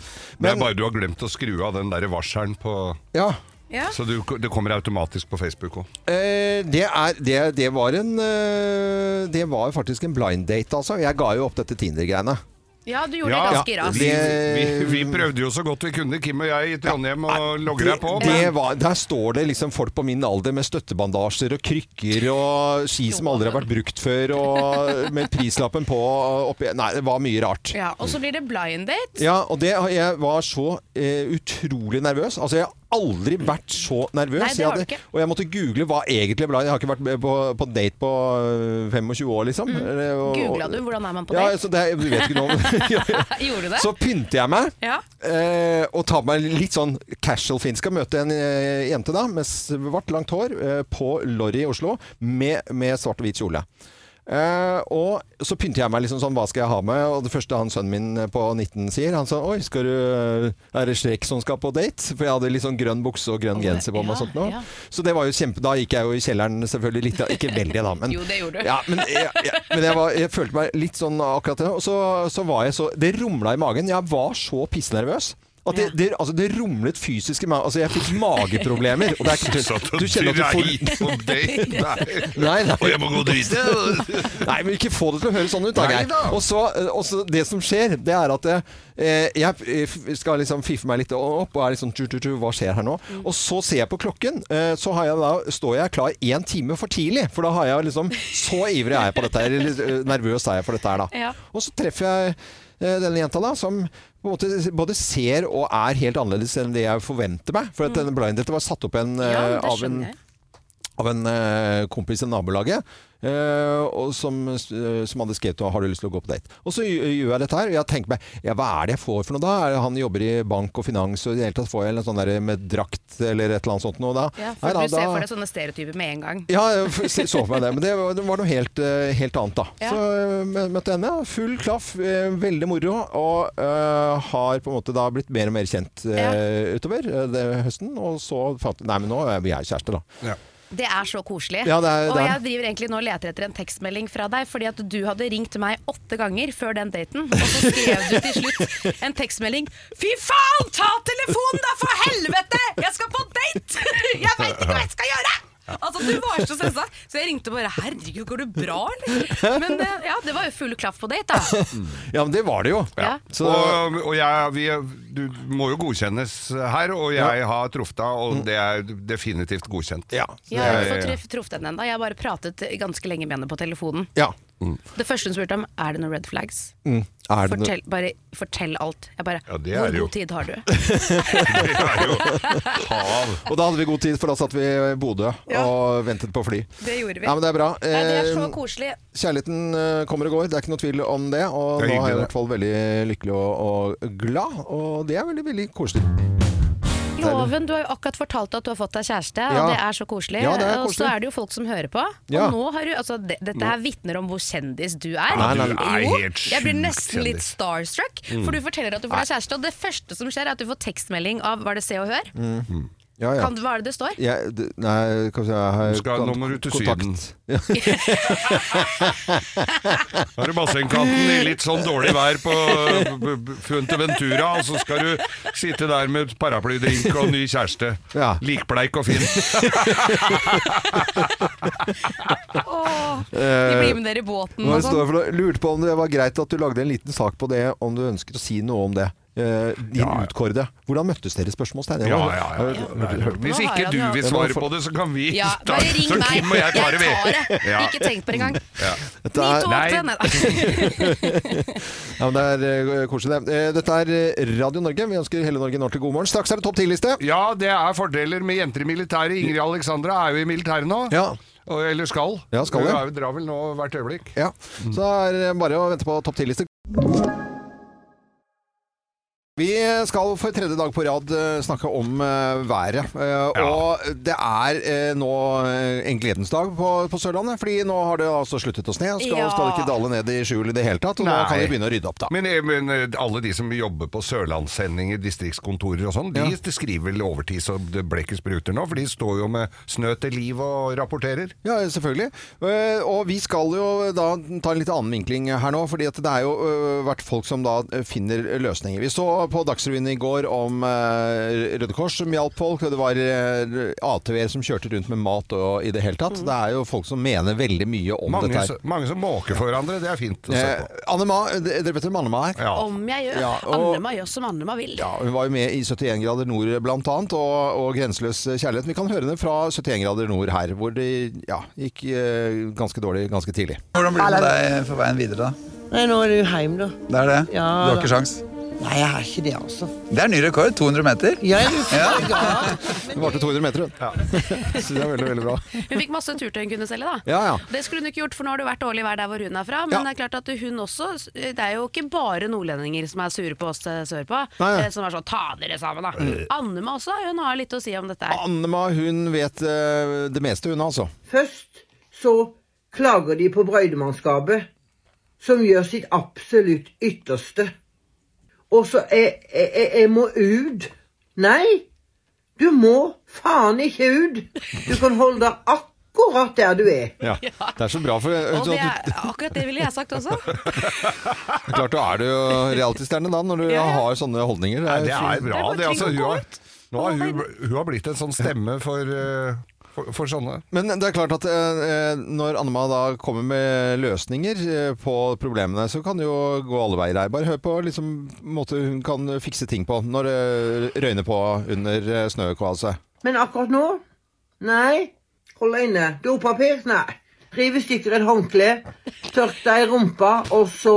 Det er bare du har glemt å skru av den der varselen på
ja,
Ja.
Så du, det kommer automatisk på Facebook òg.
Eh, det, er, det, det var en eh, Det var faktisk en blind date, altså. Jeg ga jo opp dette Tinder-greiene.
Ja, du gjorde det ganske raskt.
vi, vi, vi prøvde jo så godt vi kunne, Kim og jeg i Trondheim, og logger deg på.
Det- det var, der står det liksom folk på min alder med støttebandasjer og krykker og ski som aldri har vært brukt før, og med prislappen på og oppi Nei, det var mye rart.
Ja, og så blir det blind date.
Ja, og det, jeg var så eh, utrolig nervøs. Altså, jeg har aldri vært så nervøs.
Nei, det
jeg
har du
hadde-
ikke.
Og jeg måtte google hva egentlig ble. Jeg har ikke vært med på, på date på eh, 25 år, liksom. Eller, og-
Mm. Googlet du hvordan er man på
Ja,
date?
så det, jeg vet ikke noe om.
Gjorde du det?
Så pynter jeg meg.
Ja.
Eh, og tar meg litt sånn casual fin. Skal møte en eh, jente da med svart, langt hår eh, på Lorry i Oslo med, med svart og hvit kjole. Eh, og så pynter jeg meg liksom sånn, hva skal jeg ha med? Og det første han sønnen min eh, på 19 sier, han sa Oi, skal du, eh, er det Shrek som skal på date? For jeg hadde litt sånn grønn bukse og grønn genser på meg og
ja,
sånt noe.
ja.
Så det var jo kjempe Da gikk jeg jo i kjelleren selvfølgelig litt, ikke veldig da, men
Jo, det gjorde du.
Ja, men jeg, jeg, men jeg, var, jeg følte meg litt sånn akkurat det. Og så, så var jeg så Det rumla i magen. Jeg var så pissnervøs. At det, det, altså det rumlet fysisk i meg. Altså, jeg fikk mageproblemer. Og det er ikke
Satt
tull.
og
Du kjenner at du får
dreit på date. Nei.
Nei,
Og
nei.
jeg må gå og drite.
nei men ikke få det til å høres sånn ut, da, Geir.
Neida.
Og så, eh, og så det som skjer, det er at eh, jeg f- skal liksom fiffe meg litt opp og er liksom tju, tju, tju, hva skjer her nå?
Mm.
Og så ser jeg på klokken, eh, så har jeg da, står jeg klar én time for tidlig. For da har jeg liksom Så ivrig er jeg på dette her, eller eh, nervøs er jeg for dette her, da.
Ja.
Og så treffer jeg eh, denne jenta da, som på en måte både ser og er helt annerledes enn det jeg forventer meg. For at denne blind date var satt opp en, eh,
Mm. Ja, det
av en
skjønner jeg.
av en eh, kompis i nabolaget eh, og som, eh, som hadde skrevet og 'har du lyst til å gå på date'. Og så gj- gjør jeg dette her, og jeg tenker meg ja, hva er det jeg får for noe da? Er det- Han jobber i bank og finans, og i det hele tatt får jeg en sånn der med drakt eller et eller annet sånt noe da.
Ja,
Nei
for
da,
du ser
da-
for deg sånn. sånne stereotyper med en gang.
ja, jeg f- se- så for meg det. Men det var, det var noe helt, eh, helt annet, da.
Ja.
Så eh, mø- møtte henne. Full klaff, eh, veldig moro. Og eh, har på en måte da blitt mer og mer kjent eh, utover eh, det, høsten. Og så fant Nei, men nå er vi er kjærester, da.
Ja.
Det er så koselig.
Ja, det er-
og
det er-
jeg driver egentlig nå og leter etter en tekstmelding fra deg, fordi at du hadde ringt meg åtte ganger før den daten, og så skrev du til slutt en tekstmelding. Fy faen, ta telefonen da, for helvete! Jeg skal på date! Jeg veit ikke hva jeg skal gjøre! Altså, du var så stressa, så jeg ringte bare 'herregud, går det bra', eller? Men eh, ja, det var jo full klaff på date, da.
Ja, men det var det jo.
Ja.
Så,
Og, og jeg, vi, du må jo godkjennes her, og jeg har truffet deg, og det er definitivt godkjent.
Mm. ja.
Jeg har
Ja, ja,
ikke
ja.
fått truff- truffet henne ennå. Jeg har bare pratet ganske lenge med henne på telefonen.
ja. Mm.
Det første hun spurte om, er det noen red flags?
Er det noe
Fortell, bare, fortell alt. Jeg bare,
Ja, det er
Hvor
det jo.
god tid har du?
Det er jo hav.
og da hadde vi god tid, for da satt vi i Bodø og ventet på fly.
Det gjorde vi.
Ja, men Det er bra.
Nei, det er så
Eh,
koselig.
Kjærligheten eh, kommer og går, det er ikke noe tvil om det. Og
Det
nå er
er
jeg i
hyggelig,
hvert fall veldig lykkelig og, og glad, og det er veldig, veldig koselig.
Loven, du har jo akkurat fortalt at du har fått deg kjæreste,
Ja.
og det er så koselig.
Ja, det er
Og så
koselig.
er det jo folk som hører på.
Ja.
Og nå har du, altså, det, dette her vitner om hvor kjendis du er.
Nei, nei, nei.
Jo,
Du er helt
jeg blir
sjukt kjendis.
nesten
Mm.
litt starstruck, for du forteller at du får deg kjæreste, og det første som skjer er at du får tekstmelding av Var det Se og Hør?
Ja, Mm. ja.
Kan, hva er det det står?
Jeg, d- nei, kanskje jeg har
Du skal-
kon-
nå må du til
kontakt.
Syden. Da er du bassengkanten i litt sånn dårlig vær på b- b- Fuenteventura, og så skal du sitte der med paraplydrink og ny kjæreste.
Ja.
Likbleik og fin.
Åh, vi
Eh,
blir med dere i båten
Hva
og
det
sånn.
står for noe? Lurte på om det var greit at du lagde en liten sak på det, om du ønsket å si noe om det. Eh, din
Ja, ja.
utkårede. Hvordan møttes dere? Spørsmålstegn. Det
Ja,
var-
ja, ja. Hvis
Nå
ikke
har jeg
du
det,
vil
altså.
svare på det, så kan vi
Ja,
ta
bare ring
Så
meg.
Kim og jeg tar det, vi. Ja.
Ikke tenk på det engang.
Ja.
Dette er-
Nei.
928, nei da.
Ja, men det er eh, koselig, det. Eh, Dette er Radio Norge. Vi ønsker hele Norge en ordentlig god morgen. Straks er det Topp 10-liste.
ja, det er fordeler med jenter i militæret. Ingrid Alexandra er jo i militæret nå.
Ja.
Og, eller skal.
Ja, skal,
Hun
ja.
er jo- drar vel nå hvert øyeblikk.
Ja. Så er det bare å vente på topp 10-liste. Vi skal for tredje dag på rad eh, snakke om eh, været. Eh,
Ja.
Og det er eh, nå eh, en gledens dag på, på Sørlandet, fordi nå har det altså sluttet å sne. Skal,
Ja.
skal ikke dale ned i skjul i det hele tatt, og nå
Nei.
kan vi begynne å rydde opp, da.
Men, eh, men alle de som jobber på sørlandssendinger, distriktskontorer og sånn, de, de skriver vel overtid så det blekket spruter nå, for de står jo med snø til liv og rapporterer.
Ja, selvfølgelig. Eh, Og vi skal jo da ta en litt annen vinkling her nå, fordi at det er jo eh, vært folk som da eh, finner løsninger. Vi så på Dagsrevyen i går om eh, Røde Kors som hjalp folk, og det var eh, ATV-er som kjørte rundt med mat og i det hele tatt. Det er jo folk som mener veldig mye om
Mange,
dette
s-
her.
mange som måker for hverandre, det er fint å se
Eh,
på.
Annema, dere vet hvem Annema er?
Ja.
Om jeg gjør.
Ja, og-
Annema gjør som Annema vil.
Ja, hun var jo med i 71 grader nord blant annet, og, og Grenseløs kjærlighet. Vi kan høre henne fra 71 grader nord her, hvor det ja, gikk eh, ganske dårlig ganske tidlig.
Hvordan blir det med deg på veien videre, da?
Nei, nå er du hjem, da.
Det er det?
Ja,
du har
da.
ikke sjans?
Nei, jeg har ikke det, altså.
Det er ny rekord. 200 meter.
Ja, er du faen, ja.
Det varte 200 meter, hun. Så det er veldig, veldig bra.
Hun fikk masse turtøy hun kunne selge, da.
Ja, ja.
Det skulle hun ikke gjort, for nå har det vært dårlig vær der hvor hun er fra. Men
Ja.
det er klart at hun også Det er jo ikke bare nordlendinger som er sure på oss eh, sørpå,
Nei, Eh. nei.
eh, som er sånn 'ta dere sammen', da. Annema også, hun har litt å si om
Ah,
dette her.
Annema hun vet eh, det meste, hun altså.
Først så klager de på brøydemannskapet, som gjør sitt absolutt ytterste. Og så jeg, jeg, jeg- jeg må ut. Nei, du må faen ikke ut. Du kan holde deg akkurat der du er.
Det er så bra, for
Og det
sånn at
er, akkurat det ville jeg sagt også.
du, klart da er du jo realitystjerne da, når du
Ja, ja.
har sånne holdninger.
Nei, det er bra,
bare
det. Altså,
ting å
hun,
gå
har,
ut.
nå har hun, hun har blitt en sånn stemme for, eh, for, for sånne.
Men det er klart at eh, eh, når Annema da kommer med løsninger eh, på problemene, så kan det jo gå alle veier her. Bare hør på liksom, måte hun kan fikse ting på når det røyner på under eh, snøkvaset.
Men akkurat nå? Nei. Hold deg inne. Dopapir? Nei. Riv i stykker et håndkle, tørk deg i rumpa, og så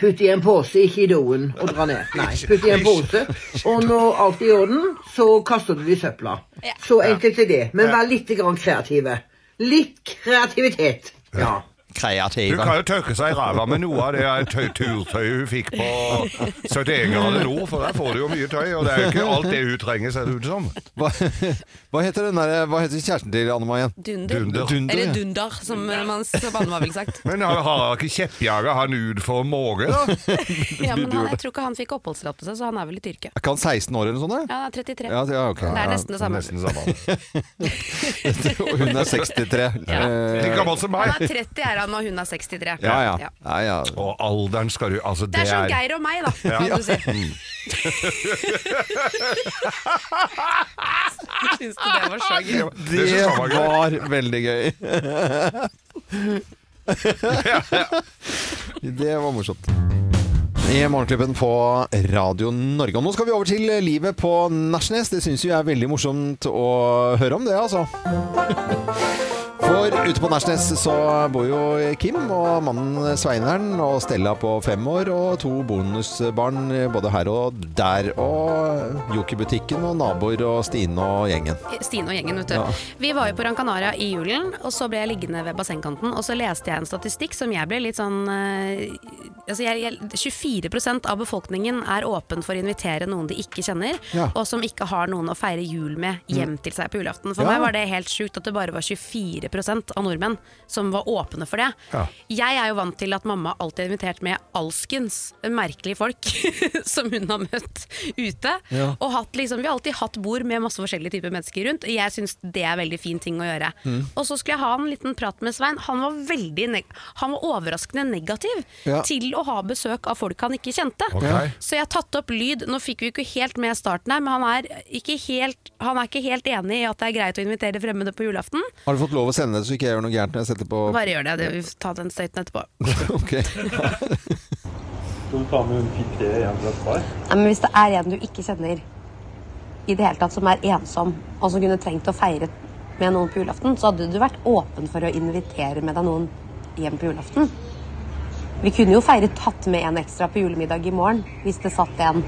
Putt i en pose, ikke i doen, og dra ned. Nei, putt i en pose. Og når alt er i orden, så kaster du det i søpla. Så enkelt er det. Men vær litt grann kreative. Litt kreativitet. Ja.
Hun
kreative.
kan jo tørke seg i ræva med noe av det her tøy- turtøyet hun fikk på 71 grader nord, for der får du jo mye tøy, og det er jo ikke alt det hun trenger, ser det ut som.
Hva, hva heter den der, hva heter kjæresten til Anne Mai igjen?
Dunder.
Dunder.
ja.
Eller dunder, som man som Anne ville sagt.
Men har, har ikke kjeppjaga han ut for måge, da?
Ja, men han, jeg tror ikke han fikk oppholdstillatelse, så han er vel i Tyrkia.
Er ikke han 16 år eller noe sånt?
Ja, han er 33.
Ja, ja, ok.
Det er nesten det samme.
Nesten samme.
der? Og Hun er 63.
Ja.
Eh,
Like gammel som
Han
meg.
er 30 er han, og hun er 63.
ja, ja. ja, ja.
Og alderen skal du Altså,
Det
det
er som
er
Geir og meg, da, kan du si. Syns du det var så gøy?
Det
Det
synes jeg var gøy.
var veldig gøy. Det var morsomt. I Morgenklubben på Radio Norge. Og nå skal vi over til livet på Nesjnes. Det syns vi er veldig morsomt å høre om det, altså. For ute på Nesjnes så bor jo Kim og mannen Sveineren og Stella på fem år og to bonusbarn både her og der. Og Joker-butikken og naboer og Stine og gjengen.
Stine og gjengen, vet du. Vi var jo på Gran Canaria i julen, og så ble jeg liggende ved bassengkanten, og så leste jeg en statistikk som jeg ble litt sånn eh, altså jeg, jeg, 24 av befolkningen er åpen for å invitere noen de ikke kjenner,
Ja.
og som ikke har noen å feire jul med hjem til seg på julaften. For
Ja.
meg var det helt sjukt at det bare var 24 av nordmenn som var åpne for det.
Ja.
Jeg er jo vant til at mamma alltid har invitert med alskens merkelige folk som hun har møtt ute.
Ja.
Og hatt, liksom, vi har alltid hatt bord med masse forskjellige typer mennesker rundt. Jeg syns det er veldig fin ting å gjøre.
Mm.
Og så skulle jeg ha en liten prat med Svein. Han var, veldig neg han var overraskende negativ
Ja.
til å ha besøk av folk han ikke kjente.
Ok.
Så jeg har tatt opp lyd. Nå fikk vi ikke helt med starten her, men han er ikke helt, han er ikke helt enig i at det er greit å invitere fremmede på julaften.
Har du fått lov å sende det så ikke jeg gjør noe gærent når jeg setter på
Bare gjør det. det vi får ta den støyten etterpå.
Ok.
Skal du ta med en piké hjem fra Spar?
Nei, men hvis det er en du ikke kjenner i det hele tatt som er ensom, og som kunne trengt å feire med noen på julaften, så hadde du vært åpen for å invitere med deg noen hjem på julaften. Vi kunne jo feiret tatt med en ekstra på julemiddag i morgen, hvis det satt en.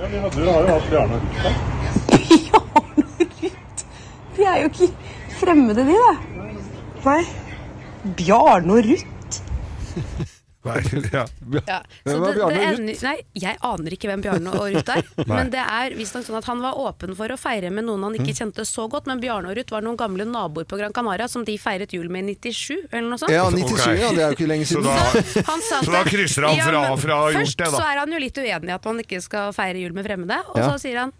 Ja, vi hadde, har jo hatt Bjarne Rustad.
Bjarne Ruth! De er jo ikke fremmede, de, da. Nei. Bjarne og Ruth?
Nei, ja.
Ja.
Hvem er
Så det, det
Bjarne Ruth?
ender, nei, jeg aner ikke hvem Bjarne og Ruth er. men det er visstnok sånn at han var åpen for å feire med noen han ikke
Mm.
kjente så godt. Men Bjarne og Ruth var noen gamle naboer på Gran Canaria som de feiret jul med i 97, eller noe sånt.
Ja, 97,
Ok.
ja. Det er jo ikke lenge
Så
siden.
da
Han sa at-
Så da krysser han fra-
men
fra å ha gjort
Først
det, da.
så er han jo litt uenig i at man ikke skal feire jul med fremmede. Og
Ja.
så sier han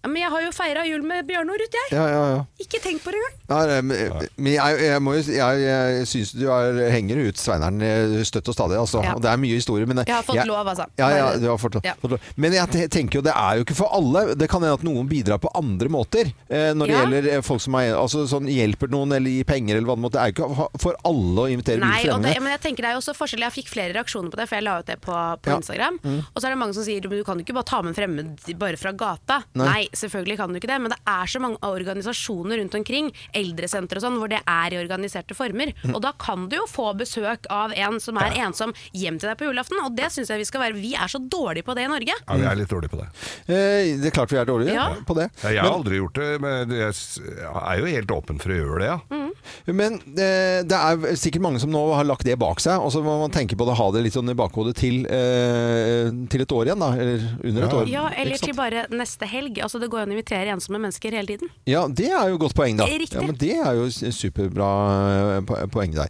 ja, men jeg har jo feira jul med Bjarne og Ruth, jeg.
Ja, ja, ja.
Ikke tenk på det engang.
Nei, nei, men- eh, men jeg, jeg, må jo si- jeg, jeg syns du er, henger ut Sveineren eh, støtt og stadig. Altså.
Ja.
Og det er mye historie. Men
Jeg har fått lov, altså.
Ja, ja,
Bare-
du har fått,
Ja.
fått lov. Men jeg te- tenker jo det er jo ikke for alle. Det kan hende at noen bidrar på andre måter. Eh, når det
Ja.
gjelder eh, folk som er, altså, sånn, hjelper noen eller gir penger eller hva det måtte. Det er jo ikke for alle å invitere
Nei,
ut
og det,
fremmede.
men jeg tenker det er jo også forskjell Jeg fikk flere reaksjoner på det, for jeg la ut det på, på
Ja. Mm.
Instagram. Og så er det mange som sier Men du kan jo ikke bare ta med en fremmed bare fra gata. Nei. selvfølgelig kan du ikke det, men det er så mange organisasjoner rundt omkring, eldresenter og sånn, hvor det er i organiserte former.
Mm.
Og da kan du jo få besøk av en som er ensom, hjem til deg på julaften. Og det syns jeg vi skal være. Vi er så dårlige på det i Norge.
ja, jeg er litt dårlig på det.
Eh, det er klart vi er dårlige
Ja.
på det.
Ja, Jeg har aldri gjort det, men jeg s- jeg er jo helt åpen for å gjøre det, ja.
Men eh, det er sikkert mange som nå har lagt det bak seg, og så må man tenke på det, ha det litt sånn i bakhodet til, eh, til et år igjen, da. Eller under et
Ja.
år.
Ja, eller
Ikke sant?
til bare neste helg. Altså Det går an å invitere ensomme mennesker hele tiden.
Ja, det er jo et godt poeng, da.
Riktig.
Ja, men det er jo s- superbra eh, po- poeng der.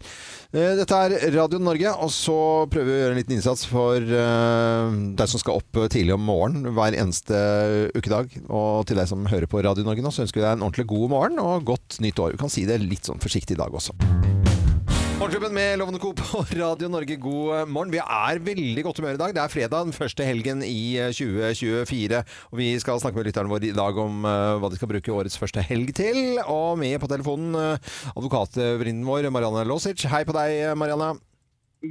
Eh, Dette er Radio Norge, og så prøver vi å gjøre en liten innsats for eh, deg som skal opp tidlig om morgenen hver eneste eh, ukedag. Og til deg som hører på Radio Norge nå, så ønsker vi deg en ordentlig god morgen og godt nytt år. Vi kan si det litt sånn forsiktig i dag også. Morgenklubben med Lovende Co på Radio Norge, god eh, morgen. Vi er veldig godt humør i dag. Det er fredag, den første helgen i 2024. Og vi skal snakke med lytterne våre i dag om eh, hva de skal bruke årets første helg til. Og med på telefonen uh, advokatvrinden vår, Marianne Låsic. Hei på deg, eh, Marianne.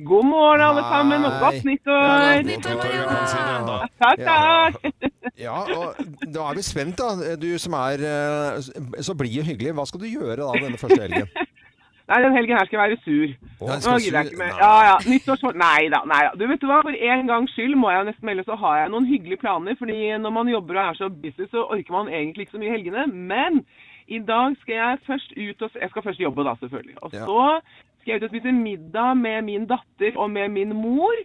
God morgen, alle
Hei.
sammen, og godt nyttår!
Ja, godt nyttår.
Takk,
Ja.
takk!
Ja, og da er vi spent, da. Du som er eh, så blid og hyggelig. Hva skal du gjøre da denne første helgen?
Nei, den helgen her skal jeg være sur.
Nei,
Nå
skal
gidder
du-
jeg ikke mer.
Nei.
Ja, ja. Nyttårsfor... Nei da, nei da. Du vet du hva, for en gangs skyld må jeg jo nesten melde, så har jeg noen hyggelige planer. Fordi når man jobber og er så busy, så orker man egentlig ikke så mye i helgene. Men i dag skal jeg først ut og Jeg skal først jobbe, da, selvfølgelig. Og
Ja.
så skal jeg ut og spise middag med min datter og med min mor.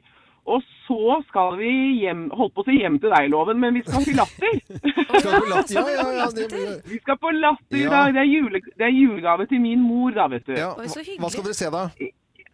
Og så skal vi hjem Holdt på å si hjem til deg-loven, men vi skal på latter.
ja, ja, ja, det,
Vi skal på latter i
Ja.
dag. Det er, jule, det er julegave til min mor, da, vet du.
ja. Hva hva skal dere se da?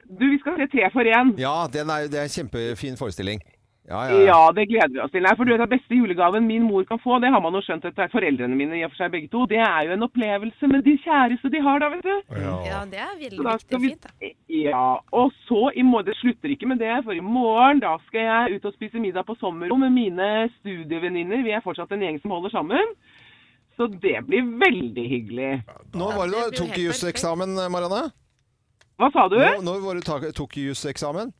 Du, vi skal se Tre for én.
Ja, den er, det er en kjempefin forestilling. Ja, ja, ja.
Ja, det gleder vi oss til. Nei, for du vet at Beste julegaven min mor kan få, det har man jo skjønt etter foreldrene mine i og for seg begge to, det er jo en opplevelse med de kjæreste de har da, vet du.
Ja, det er
Så
veldig
da
viktig
skal
og
vi-
fint. Da.
Ja, og så i morgen, det slutter ikke med det, for i morgen da skal jeg ut og spise middag på sommerrom med mine studievenninner. Vi er fortsatt en gjeng som holder sammen. Så det blir veldig hyggelig.
Når var det du tok juseksamen, Marianne?
Hva sa du?
Når, når var det du ta- tok juseksamen?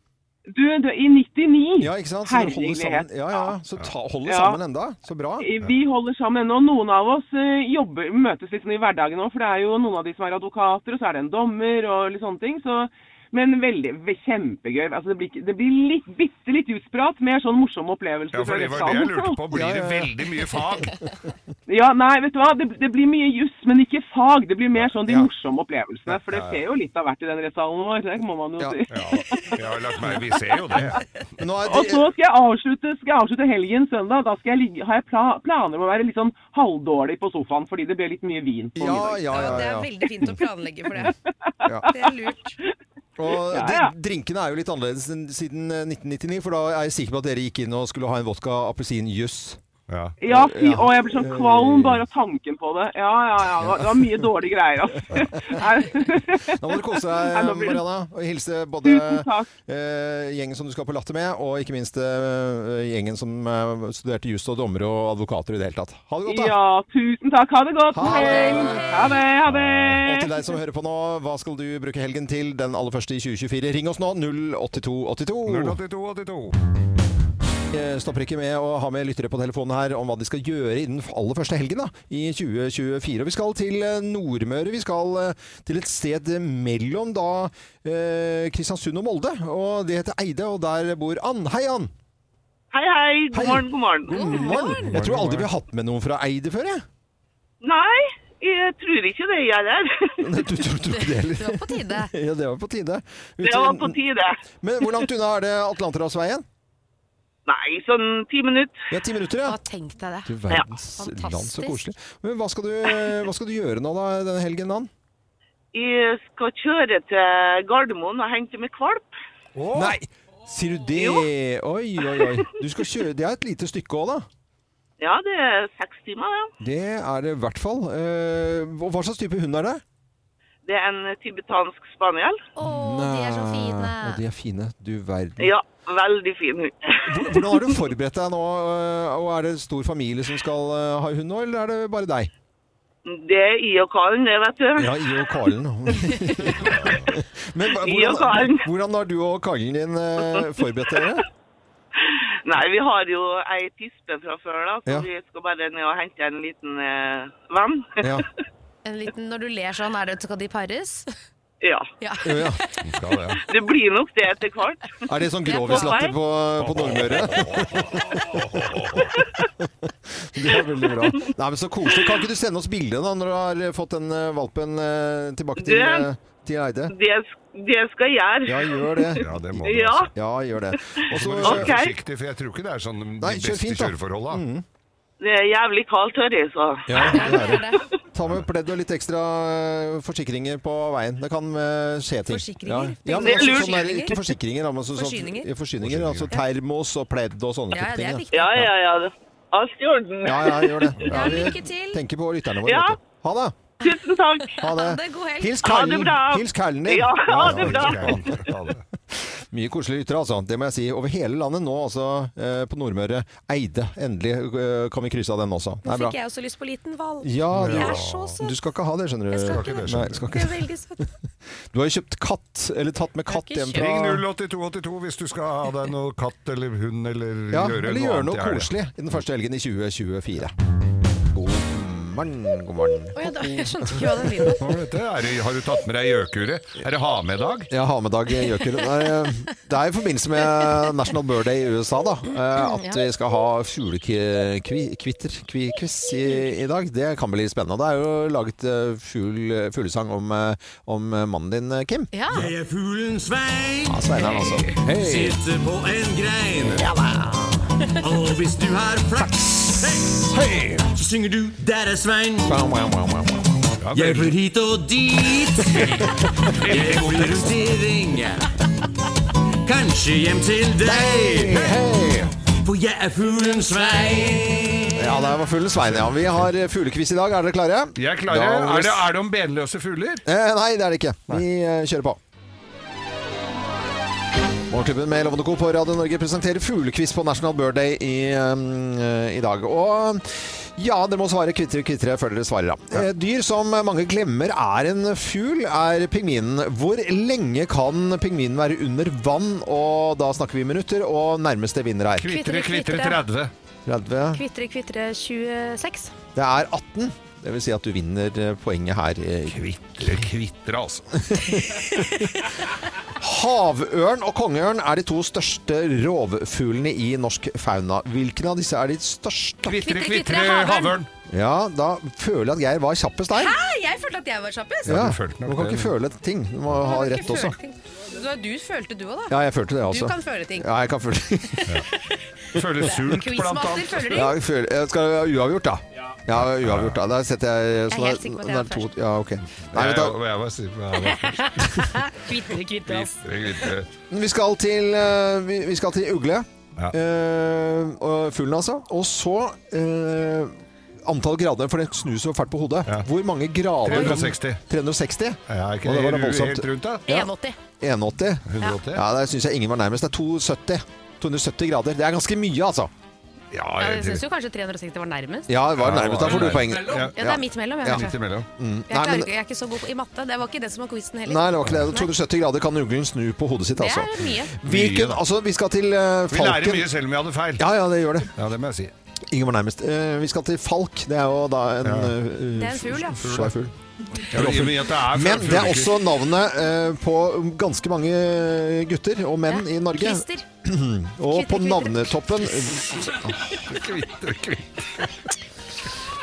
Du, du, i 99.
Ja, ikke sant? Så dere holder sammen,
Herlighet.
ja, ja, så ta, holder
Ja.
sammen enda. Så bra.
Vi holder sammen ennå. Noen av oss eh, jobber, møtes litt sånn i hverdagen òg, for det er jo noen av de som er advokater, og så er det en dommer og litt sånne ting. Så, men veldig, ve- kjempegøy. Altså, det, blir, ikke- det blir litt, bitte litt utsprat, mer sånn morsom opplevelse.
Ja, for det var det jeg lurte på. Blir det veldig mye fag?
Ja, nei, vet du hva. Det, det blir mye juss, men ikke fag. Det blir mer sånn de morsomme opplevelsene. For det
Ja, ja.
skjer jo litt av hvert i den rettssalen vår, det må man jo
Ja.
si.
Jeg har lagt meg, vi ser jo det.
Men nå er
Og så skal jeg avslutte, skal jeg avslutte helgen søndag. Da skal jeg ligge, har jeg pla, planer om å være litt sånn halvdårlig på sofaen fordi det blir litt mye vin på
Ja,
middag.
Ja,
ja,
det
ja.
er
ja.
veldig fint å planlegge for det.
Ja.
Det er lurt.
Og
Ja,
de-
ja.
drinkene er jo litt annerledes enn siden eh, 1999, for da er jeg sikker på at dere gikk inn og skulle ha en vodka appelsinjuice.
Ja.
Ja,
Eh,
fy,
Ja. Eh.
å, jeg blir sånn kvalm bare av tanken på det. Ja, ja, ja. Det var, det var mye dårlige greier, altså.
Nå må du kose
Nei,
deg,
nå blir det-
Marianne, og hilse både
Tusen takk.
eh, gjengen som du skal på Latter med, og ikke minst eh, gjengen som eh, studerte jus og dommere og advokater i det hele tatt. Ha det godt, da!
Ja, tusen takk. Ha det godt.
Ha det.
Ha det. Ha
Og til
det.
deg som hører på nå, hva skal du bruke helgen til den aller første i 2024? Ring oss nå, 08282.
082 82.
Jeg stopper Eh, ikke med å ha med lyttere på telefonen her om hva de skal gjøre innen aller første helgen da, i 2024. Og vi skal til eh, Nordmøre. Vi skal eh, til et sted mellom da eh, Kristiansund og Molde. Og det heter Eide, og der bor Ann. Hei, Ann!
Hei, hei. God
Hei.
morgen, god morgen.
God morgen! Jeg tror aldri vi har hatt med noen fra Eide før, jeg.
Nei, jeg tror ikke det, jeg der.
Nei, Du tror tror ikke det heller.
Det var på tide.
Ja, det var på tide.
Det var på tide.
Men hvor langt unna er det Atlanterhavsveien?
Nei, sånn ti minutter.
Ja, ti minutter, ja.
Å, tenk deg det.
Du verdens land, så
Fantastisk.
koselig. Men hva skal, du, hva skal du gjøre nå da, denne helgen, Ann?
Jeg skal kjøre til Gardermoen og hente meg kvalp.
Nei! Sier du det? Oi, oi, oi. Du skal kjøre Det er et lite stykke òg, da.
Ja, det er seks timer, det.
Det er det i hvert fall. Eh, og hva slags type hund er det?
Det er en tibetansk spaniel.
Å, de er så fine.
Å, de er fine. Du verden.
Ja, veldig fin hund.
Hvor- Hvordan har du forberedt deg nå? eh, Og er det stor familie som skal eh, ha hund nå, eller er det bare deg?
Det er i og karen, det, vet du.
Ja, I og Karlen. Men hva-
I og Karlen.
hvordan, hvordan har du og Karlen din eh, forberedt dere?
Nei, vi har jo ei tispe fra før, da, så
Ja.
vi skal bare ned og hente en liten eh, venn.
Ja.
En liten, når du ler sånn, er det, skal de pares?
Ja.
Ja.
ja.
Skal det.
Det blir nok det etter hvert.
Er det sånn grovislatter på, på Nordmøre? Det er veldig bra. Nei, men Så koselig. Kan ikke du sende oss bilde da, når du har fått den eh, valpen eh, tilbake
Du-
til, eh, til Eide?
Det, det skal jeg gjøre.
Ja, gjør det.
Ja, det må du
Ja.
altså.
Ja, gjør det. Og
Så
så
må du kjøre
Ok.
forsiktig, for jeg tror ikke det er sånn de
Nei, kjør
beste
fint, da. Mm.
kjøreforholda.
Det er jævlig kaldt her, jeg, så.
ja, det er det. Ta med pledd og litt ekstra eh, forsikringer på veien. Det kan eh, skje ting.
Forsikringer?
Ja, ja men
Det er
også
lurt.
sånn der, ikke forsikringer, da, men så, så,
Forsyninger.
ja, forsyninger. Altså termos og pledd og sånne
Ja,
type
det
ting.
er
da.
viktig.
Ja, ja, ja. det- Alt i orden.
Ja, ja, gjør det. Ja,
Ja,
vi
lykke til.
tenker på lytterne våre.
Ja.
vet du. Ha det!
Tusen takk.
Ha det.
Ha det, god helg.
Hils
Ha det
kallen.
bra.
Hils kallen din.
Ja, ha det
Ja,
bra.
det skal jeg.
Mye koselige lyttere, altså. Det må jeg si. Over hele landet nå, altså. eh, På Nordmøre. Eide. Endelig eh, kan vi krysse av den også. Det
Nå
er bra.
fikk jeg også lyst på liten hval.
Ja,
Det er
du,
så søtt.
du skal ikke ha det, skjønner du.
Jeg skal ikke
det.
Nei, skal
Det
ikke.
er veldig søtt.
Du har jo kjøpt katt, eller tatt med katt
ikke
hjem
kjøpt.
fra
Ring 08282 hvis du skal ha deg noe katt eller hund eller
Ja,
gjøre
eller
noe
gjøre
annet.
noe
i helgen.
koselig i den første helgen i 2024. God morgen, god morgen.
Å ja, da, jeg skjønte ikke hva den lyden
Hva var dette? Er det, har du tatt med deg gjøkuret? Er det ha-med-dag?
Ja, ha med dag gjøker. Nei, Det er i forbindelse med National Bird Day i USA, da. eh, At vi skal ha fuglekvitter-quiz i, i dag. Det kan bli spennende. Det er jo laget eh, fugl, fuglesang om, eh, om mannen din, eh, Kim.
Ja.
Jeg er fuglen Svein.
Ja, Sveineren, altså. Hei.
Sitter på en grein. Og hvis du har flaks, hei, så synger du 'Der er Svein'. Jeg flyr hit og dit. Jeg går til rundering. Kanskje hjem til deg. For jeg er fuglen Svein.
Ja, det var fuglen Svein, ja. Vi har fuglekviss i dag. Er dere klare?
Jeg er klare.
Da-
Er det, er det om benløse fugler?
Eh, nei, det er det ikke. Vi eh, kjører på. Morgenklubben med Lovende Co. på Radio Norge presenterer fuglekviss på National Bird Day i, eh, i dag. Og ja, dere må svare kvittere, kvittere før dere svarer, da. Eh, Dyr som mange glemmer er en fugl, er pingvinen. Hvor lenge kan pingvinen være under vann? Og da snakker vi minutter, og nærmeste vinner er
Kvitre, kvitre 30.
30.
Kvitre, kvitre 26.
Det er 18. Det vil si at du vinner eh, poenget her. Kvitre,
kvitre, altså.
Havørn og kongeørn er de to største rovfuglene i norsk fauna. Hvilken av disse er de største?
Kvitre, kvitre havørn.
Ja, da føler jeg at Geir var kjappest der.
Hæ? Jeg følte at jeg var kjappest.
Ja, du kan ikke føle ting. Du må ha
Jeg
rett
ikke
også.
følt ting. Du, du følte du òg, da.
Ja, jeg følte det også.
Du kan føle ting.
Ja, jeg kan føle
Føler sult,
blant annet. føler ting.
Ja, jeg føler, jeg skal ha uavgjort, da. Ja, uavgjort, da. Der setter jeg
Jeg er helt sikker på at jeg
da-
var
da er det to- Ja, ok. Nei,
jeg,
vet du,
jeg, jeg var sikker på det.
Kvitre, kvitre, ass.
Kvitre, kvitre.
Vi skal til, eh, vi, vi skal til ugle.
Ja.
Eh, og fuglen, altså. Og så eh, antall grader, for det snus jo fælt på hodet. Hvor mange grader
360.
360?
Ja, er ikke
Og
det
var da
helt
voldsomt.
rundt, da?
Ja.
81.
81?
180?
Ja, der syns jeg ingen var nærmest. Det er 270. 270 grader. Det er ganske mye, altså.
Ja, jeg syns jo kanskje 360 var nærmest.
Ja, det var
Ja, det
nærmest.
var
Da får du
nærmest.
poeng.
Ja, det er midt mellom, jeg,
Ja.
kanskje.
Mm.
Jeg,
Nei,
klarer,
men,
ikke- jeg er ikke så god på- i matte. Det var ikke det som var quizen heller.
nei, det var ikke det. 270 grader kan uglen snu på hodet sitt,
Det
altså.
er mye.
Hvilken, altså, vi skal til eh,
Vi lærer
Falken.
mye selv om vi hadde feil.
Ja, ja, det gjør det.
Ja, det må jeg si.
Ingen var nærmest. Eh, vi skal til Falk. Det er jo da en
Ja.
eh,
Det er en fugl, ja.
f- Svær fugl.
Ja, men i og med at det er
Men det er
fuglekviss.
også navnet eh, på ganske mange gutter og menn i Norge.
Christer.
og på
Kvitter, kvitter.
navnetoppen
Kvitre, kvitre.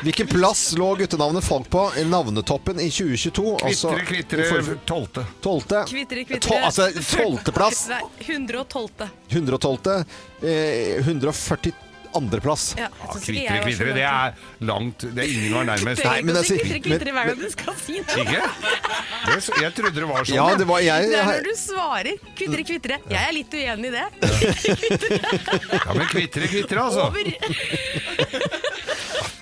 Hvilken plass lå guttenavnet Falk på i navnetoppen i 2022?
Kvitre, kvitre, tolvte.
Tolvte.
Kvitre, kvitre.
Tol- altså, tolvteplass.
Nei, 112.
112. Eh, 142. plass.
Ja, jeg synes ikke
Kvitre,
jeg var så
kvitre, det
langt.
er langt Det er ingen var nærmest.
Trenger ikke å si
sier-
kvitre, kvitre hver gang du skal si noe.
Ikke? Det, så- jeg trodde det var sånn.
Ja, det var jeg-
Det er når du svarer 'kvitre,
Mm.
kvitre'. Jeg er litt uenig i det.
Ja, men kvitre, kvitre, altså.
Over.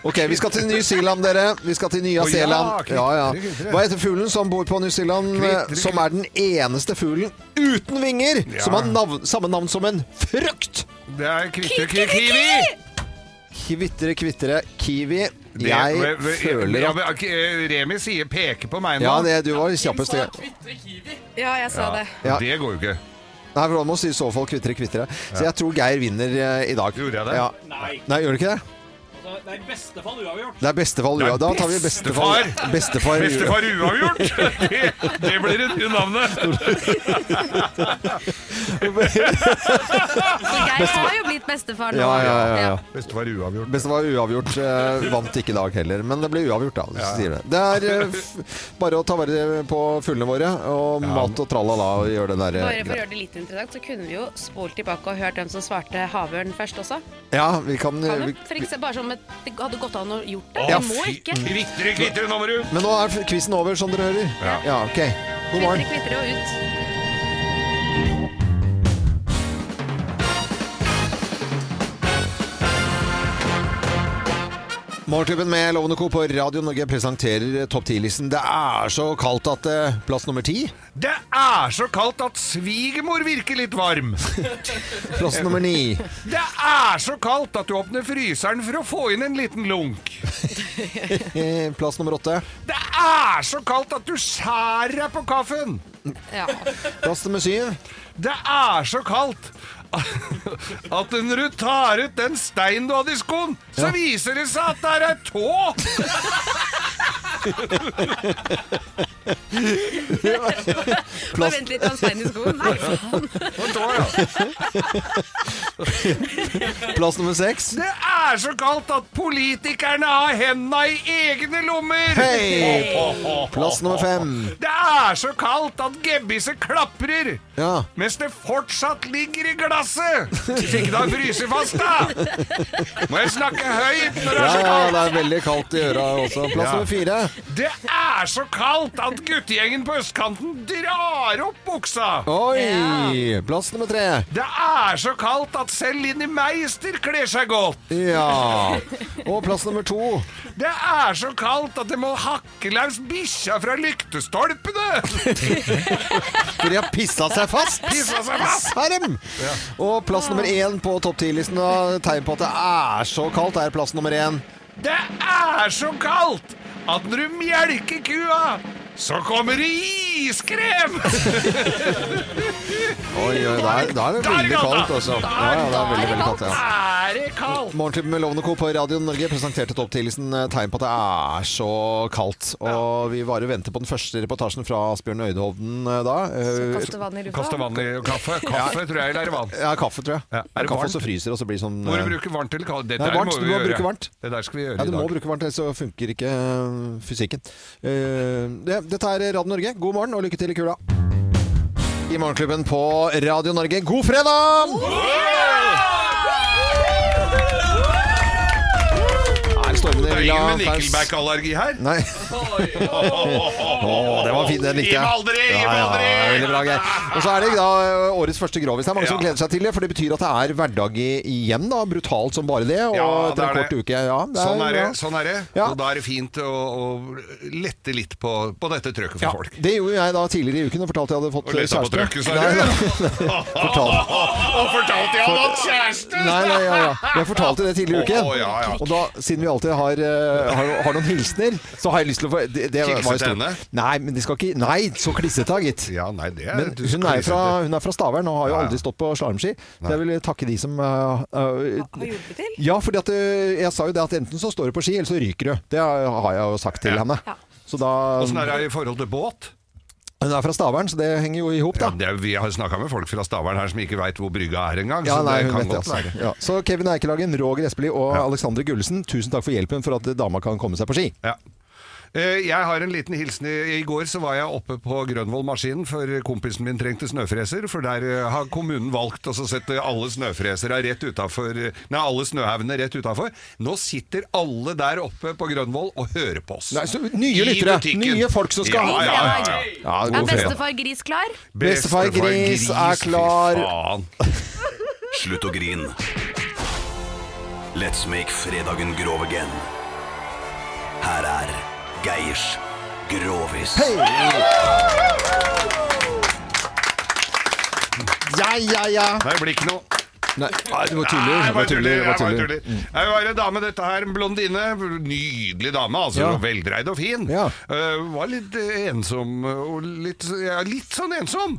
Ok, vi skal til New Zealand, dere. Vi skal til Nya
Å, ja,
Zeeland.
kvitre,
Ja, ja.
kvitre.
Hva heter fuglen som bor på New Zealand,
Kvitre,
eh, som er den eneste fuglen uten vinger
Ja.
som har navn, samme navn som en frukt?
Det er kvitre, kvitre, kiwi!
Kvitre, kvitre, kiwi.
Det-
Jeg
ve- ve-
føler
ja,
at
men, ok, eh, Remi sier peker på meg nå.
Ja, det, du var kjappest. ja.
Ja, jeg sa
Ja.
det.
Ja.
Det går jo ikke.
Nei, for da må du si i så fall kvitre, kvitre. Så jeg tror Geir vinner eh, i dag. Gjorde jeg
det?
Ja.
Nei. Altså,
Nei, gjør du ikke det?
Det er i beste fall uavgjort.
Det er bestefar Lua. Da tar vi bestefar.
Bestefar.
Bestefar,
Bestefar uavgjort! Det, det blir det nye navnet.
Jeg har jo blitt bestefar nå.
Ja, ja, ja, ja.
Bestefar uavgjort.
Bestefar uavgjort eh, vant ikke i dag heller, men det ble uavgjort, da. Hvis du sier det. det er eh, f bare å ta vare på fuglene våre, og mat og tralala og gjøre den eh,
Bare for å
derre
gjøre det litt interessant, så kunne vi jo spolt tilbake og hørt hvem som svarte havørn først også.
Ja, vi kan,
Kan vi?
Eh, vi,
For eksempel, bare som et, det hadde gått an å gjort det.
Ja,
det må
fy-
ikke.
Kvitre, kvitre, nå må du
Men nå er quizen over, som dere hører. Ja, ok. God
Kvitre,
morgen.
kvitre og ut.
Morgenklubben med Lovende Co. på Radio Norge presenterer eh, Topp 10-listen. Det er så kaldt at eh, plass nummer ti
Det er så kaldt at svigermor virker litt varm.
Plass nummer ni.
Det er så kaldt at du åpner fryseren for å få inn en liten lunk.
Eh, Plass nummer åtte.
Det er så kaldt at du skjærer deg på kaffen.
Ja.
Plass nummer syv.
Det er så kaldt at når du tar ut den steinen du hadde i skoen, så
Ja.
viser det seg at det er ei tå!
Bare vent litt, han stein i skoen. Nei, faen.
Og tå, ja.
Plass nummer seks.
Det er så kaldt at politikerne har henda i egne lommer!
Hei!
Ho, ho, ho,
Plass nummer fem.
Det er så kaldt at gebbiset klaprer
Ja.
mens det fortsatt ligger i glasset! Hvis ikke det har fryst fast, da! Må jeg snakke høyt når det
Ja,
er
ja,
så kaldt?
det er veldig kaldt i øra også. Plass
Ja.
nummer fire.
Det er så kaldt at guttegjengen på østkanten drar opp buksa!
Oi! Plass nummer tre.
Det er så kaldt at selv Linni Meister kler seg godt!
Ja. Og plass nummer to.
Det er så kaldt at det må hakke løs bikkja fra lyktestolpene!
For de har pissa seg fast!
Pissa seg fast.
Serm! Og plass nummer én på topp ti-listen av tegn på at det er så kaldt, er plass nummer én.
Det er så kaldt at når du melker kua, så kommer det iskrem!
Oi, oi, der, der er det
Da er det
veldig
kaldt,
kaldt,
da.
altså.
Da
Ja, ja, det er veldig, veldig kaldt, ja.
Er det kaldt?
Morgenklubben med Lovende Co. på Radio Norge presenterte topp 10-listen tegn på at det er så kaldt. Og vi bare venter på den første reportasjen fra Asbjørn Øydehovden eh, da. Eh,
kaste vann i lufta?
Kaste vann i kaffe. Kaffe tror jeg eller er det vann.
Ja, kaffe, tror jeg.
er det
kaffe
varmt?
også fryser, og så blir det sånn
Må du
eh,
bruke varmt eller kaldt? Det
Nei,
der
varmt.
må vi
Du må
gjøre.
bruke varmt.
Det der skal vi gjøre
Ja,
i
du må
dag.
bruke varmt, ellers så funker ikke eh, fysikken. Eh, det, dette er Radio Norge. God morgen og lykke til i kula. I Morgenklubben på Radio Norge, god fredag! Er stormende
Det er
Villa
ingen med
Paus.
nikkelbackallergi her.
Nei. Å, det var fint. Den likte jeg.
Gi meg aldri, gi meg
Ja, ja,
aldri!
ja, veldig bra, Geir. Og så er det da ø, årets første grovis. Det er mange som
Ja.
gleder seg til det, for det betyr at det er hverdag i- igjen. da, Brutalt som bare det. Og
Ja,
etter en
det er
kort
det.
uke. Ja, det
sånn er det.
bra.
Sånn er det.
Ja.
Og da er det fint å, å lette litt på, på dette trøkket for folk.
Det gjorde jeg da tidligere i uken og fortalte jeg hadde fått
Og lette på
kjæreste.
trøkket, sa
Nei,
du?
nei, fortalte-
Og fortalte jeg hadde hatt kjæreste!
Nei, nei, ja, ja. Jeg fortalte det tidligere i uken.
Å, ja, ja.
Og da, siden vi alltid har, eh, har, har noen hilsener, så har jeg lyst til å få det, det var jo
Hilse til
stort.
henne?
Nei, men de skal ikke Nei, så klissete, gitt.
Ja, nei, det er-
men
du skal
hun er,
klissete.
fra, hun er fra Stavern og har jo
Ja, ja.
aldri stått på slalåmski. Så Jeg vil takke de som eh, eh,
Har hjulpet til?
Ja, for jeg sa jo det at enten så står du på ski, eller så ryker du. Det har jeg jo sagt til henne. Så da
Åssen er det i forhold til båt?
Hun er fra Stavern, så det henger jo i hop, da.
Ja, det er, vi har snakka med folk fra Stavern her som ikke veit hvor brygga er engang.
Ja,
så
nei,
det
hun
kan
vet det,
godt
altså.
være.
Ja. Så Kevin Eikelagen, Roger Espelid og Alexander Gullesen, tusen takk for hjelpen for at dama kan komme seg på ski.
Ja. Eh, Jeg har en liten hilsen. I i går så var jeg oppe på Grønvollmaskinen, for kompisen min trengte snøfreser. For der eh, har kommunen valgt å så sette alle snøfresere rett utenfor, Nei, alle snøhaugene rett utafor. Nå sitter alle der oppe på Grønvoll og hører på oss.
Nei, så nye lyttere, nye folk som skal
ja, ja, ja, ja.
Ja,
Er bestefar Gris klar?
Bestefar Gris er klar.
Fy faen.
Slutt å grine. Let's make fredagen grov again. Her er Geirs Grovis.
Ja, ja, ja.
Nei, det blir ikke noe.
Nei, ah, det var tuller.
Nei,
Det var tuller.
jeg
Det var
bare
tuller. Mm.
tuller. Jeg var en dame, dette her, en blondine. Nydelig dame, altså.
Ja.
Veldreid og fin. Eh, var litt eh, ensom, og litt, ja, litt sånn ensom.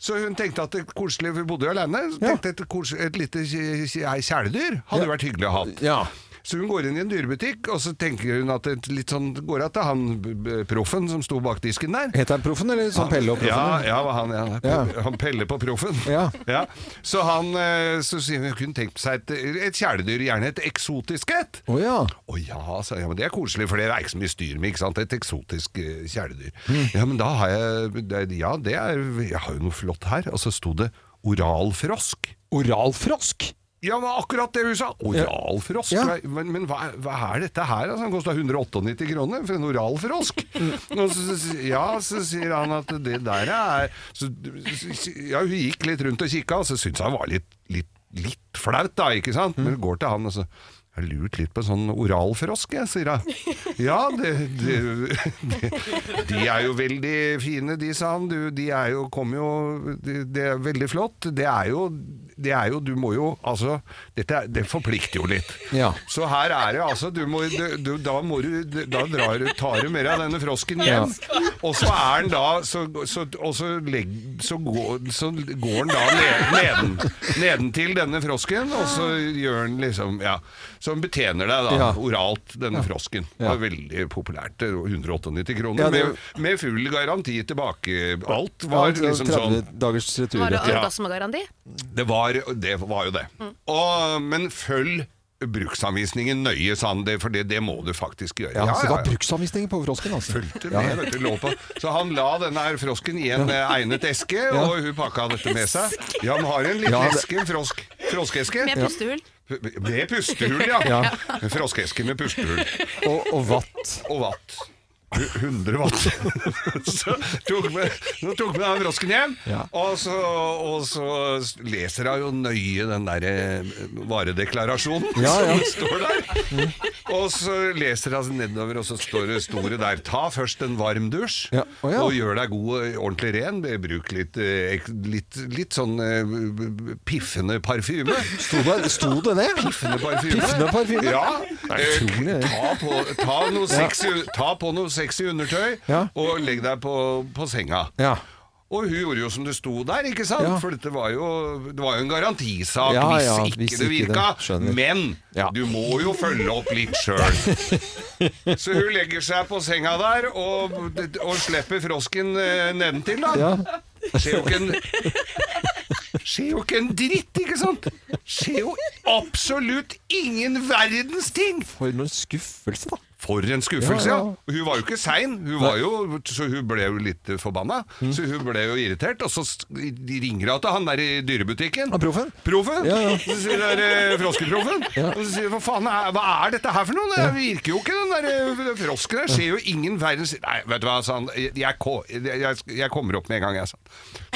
Så hun tenkte at det koselig, vi bodde jo alene, så tenkte et, kos- et lite kj- kj- kjæledyr hadde vært hyggelig å ha. Så hun går inn i en dyrebutikk, og så tenker hun at det litt sånn går at det er han b- b- proffen som sto bak disken der.
Heter han Proffen, eller sånn Pelle og
Ja,
Proffen?
ja, hva han, ja,
Ja.
han peller på proffen.
Ja.
Så han eh, så sier hun kunne tenkt seg et, et kjæledyr, gjerne et eksotisk et.
Å ja.
Å ja, sa jeg, ja, men det er koselig, for det er ikke så mye styr med, ikke sant? Et eksotisk eh, kjæledyr.
Mm.
Ja, men da har jeg det, Ja, det er Jeg har jo noe flott her. Og så sto det oralfrosk.
Oralfrosk?
Ja, men akkurat det hun sa! Oralfrosk?
Ja.
hva- Men, men hva, hva er dette her? Altså, den kosta 198 kroner for en oralfrosk!
Mm.
Og så, så- ja, så sier han at det der er så, så- Ja, hun gikk litt rundt og kikka, og så syntes han var litt, litt, litt flaut, da, ikke sant?
Mm.
Men går til han og så jeg har lurt litt på en sånn oralfrosk, jeg, sier jeg. Ja, det, det, det, de er jo veldig fine, de, sa han. Du, de er jo, kom jo det, det er veldig flott. Det er jo det er jo, du må jo, altså, dette er, det forplikter jo litt.
Ja.
Så her er det altså, du må, du, du, da, må du, da drar, du- tar du mer av denne frosken hjem. Og så er den da, så, så, og så, legg, så, går, så går den da ned, neden, nedentil denne frosken, og så gjør den liksom, ja, så den betjener deg da,
Ja.
oralt,
Ja.
denne frosken. Det
Ja.
var veldig populært, det var 198 kroner,
Ja, det-
med, med full garanti tilbake. Alt
Ja,
var
det var
liksom
30
sånn.
dagers retur.
Var det
Ja.
orgasmegaranti?
Det var, det var jo det. Og, men følg bruksanvisningen nøye, sa han, det, for det, det må du faktisk gjøre.
Ja, så det var bruksanvisninger på frosken, altså.
Fulgte
Ja.
med, vet du, lå på. Så han la denne her frosken i en eh, egnet eske, og hun pakka dette med seg. Ja, han har en liten
Ja, det-
eske, en frosk, froskeske.
Med pustehull.
P- Med pustehull, ja.
Ja.
En froskeske med pustehull.
Og, og vatt.
Og vatt. 100 watt. så tok vi, nå tok vi den frosken hjem,
Ja.
og, så, og så leser hun jo nøye den der eh, varedeklarasjonen
Ja, ja.
som står der. Og så leser hun nedover, og så står det store der 'Ta først en varm dusj',
å ja.
og gjør deg god og ordentlig ren. Bruk litt, eh, ek- litt, litt sånn eh, piffende parfyme.
Sto det, sto det det?
Piffende parfyme.
Piffende parfyme?
Ja.
Det er utrolig, det.
Ta på, ta, noe
Ja.
sexy, ta på noe sexy undertøy
Ja.
og legg deg på, på senga.
Ja.
Og hun gjorde jo som det sto der, ikke sant?
Ja.
For dette var jo, det var jo en garantisak
Ja,
hvis,
ja,
ikke
hvis
det
ikke det-
virka.
skjønner.
Men du må jo følge opp litt sjøl. Så hun legger seg på senga der og, og slipper frosken eh, nedentil, da. Skjer jo ikke en Skjer jo ikke en dritt, ikke sant? Skjer jo absolutt ingen verdens ting!
For noen skuffelse, da.
For en skuffelse,
Ja,
ja.
ja.
Hun var jo ikke sein, hun var jo, så hun ble jo litt forbanna.
Mm.
Så hun ble jo irritert, og så s- de ringer hun til han der i dyrebutikken.
Ja, proffen.
Proffen?
Ja, ja.
Så sier der, eh, froskeproffen.
Ja.
Og så sier hva faen, er, hva er dette her for noe? Det virker jo ikke, den der eh, frosken der. Skjer jo ingen verdens Nei, vet du hva, sa han. Jeg, jeg, ko- jeg, jeg kommer opp med en gang, jeg, sa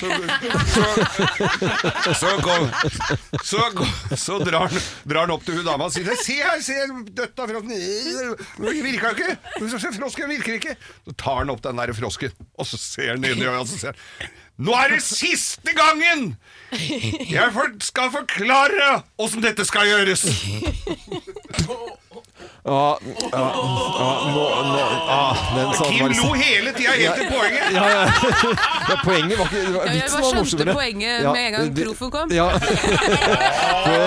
han. Så, så, kom, så, kom- så drar han drar han opp til hun dama og sier Se her, se døtta frosken Det virka ikke! Frosken virker ikke! Så tar han opp den der frosken, og så ser han inn i øya og så sier han, Nå er det siste gangen! Jeg for, skal forklare åssen dette skal gjøres!
Ja, ja, ja, nå, nå, ah, den
Kim
sammenhengen-
lo hele tida helt til poenget.
Ja, ja. ja, poenget var ikke det var-
Ja, jeg
Vitsen
bare
var
skjønte
morsommere.
poenget med en gang
det-
proffen kom.
Ja. Det,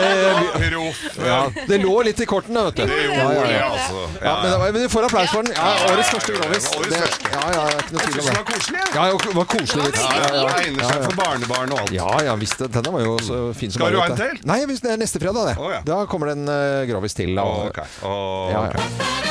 Proffen.
ja, det lå litt i kortene, vet du.
Det gjorde
ja,
det,
ja,
altså.
ja.
Ja,
men, det var- men du får applaus for den. Ja, årets første Grovis.
Ja, årets
Det-
første.
Ja, ja, det er ikke noe tvil om
Det var koselig,
Ja, jo, det var koselig.
Det var veldig fint. egner seg for barnebarn og alt.
Ja, ja, visst. det. Denne var jo så fin som
Skal du
bare
ha en
dette.
til?
Nei, hvis det er neste fredag, det. Da kommer det en eh, Grovis til. da.
Ok, ok.
Ja, ja.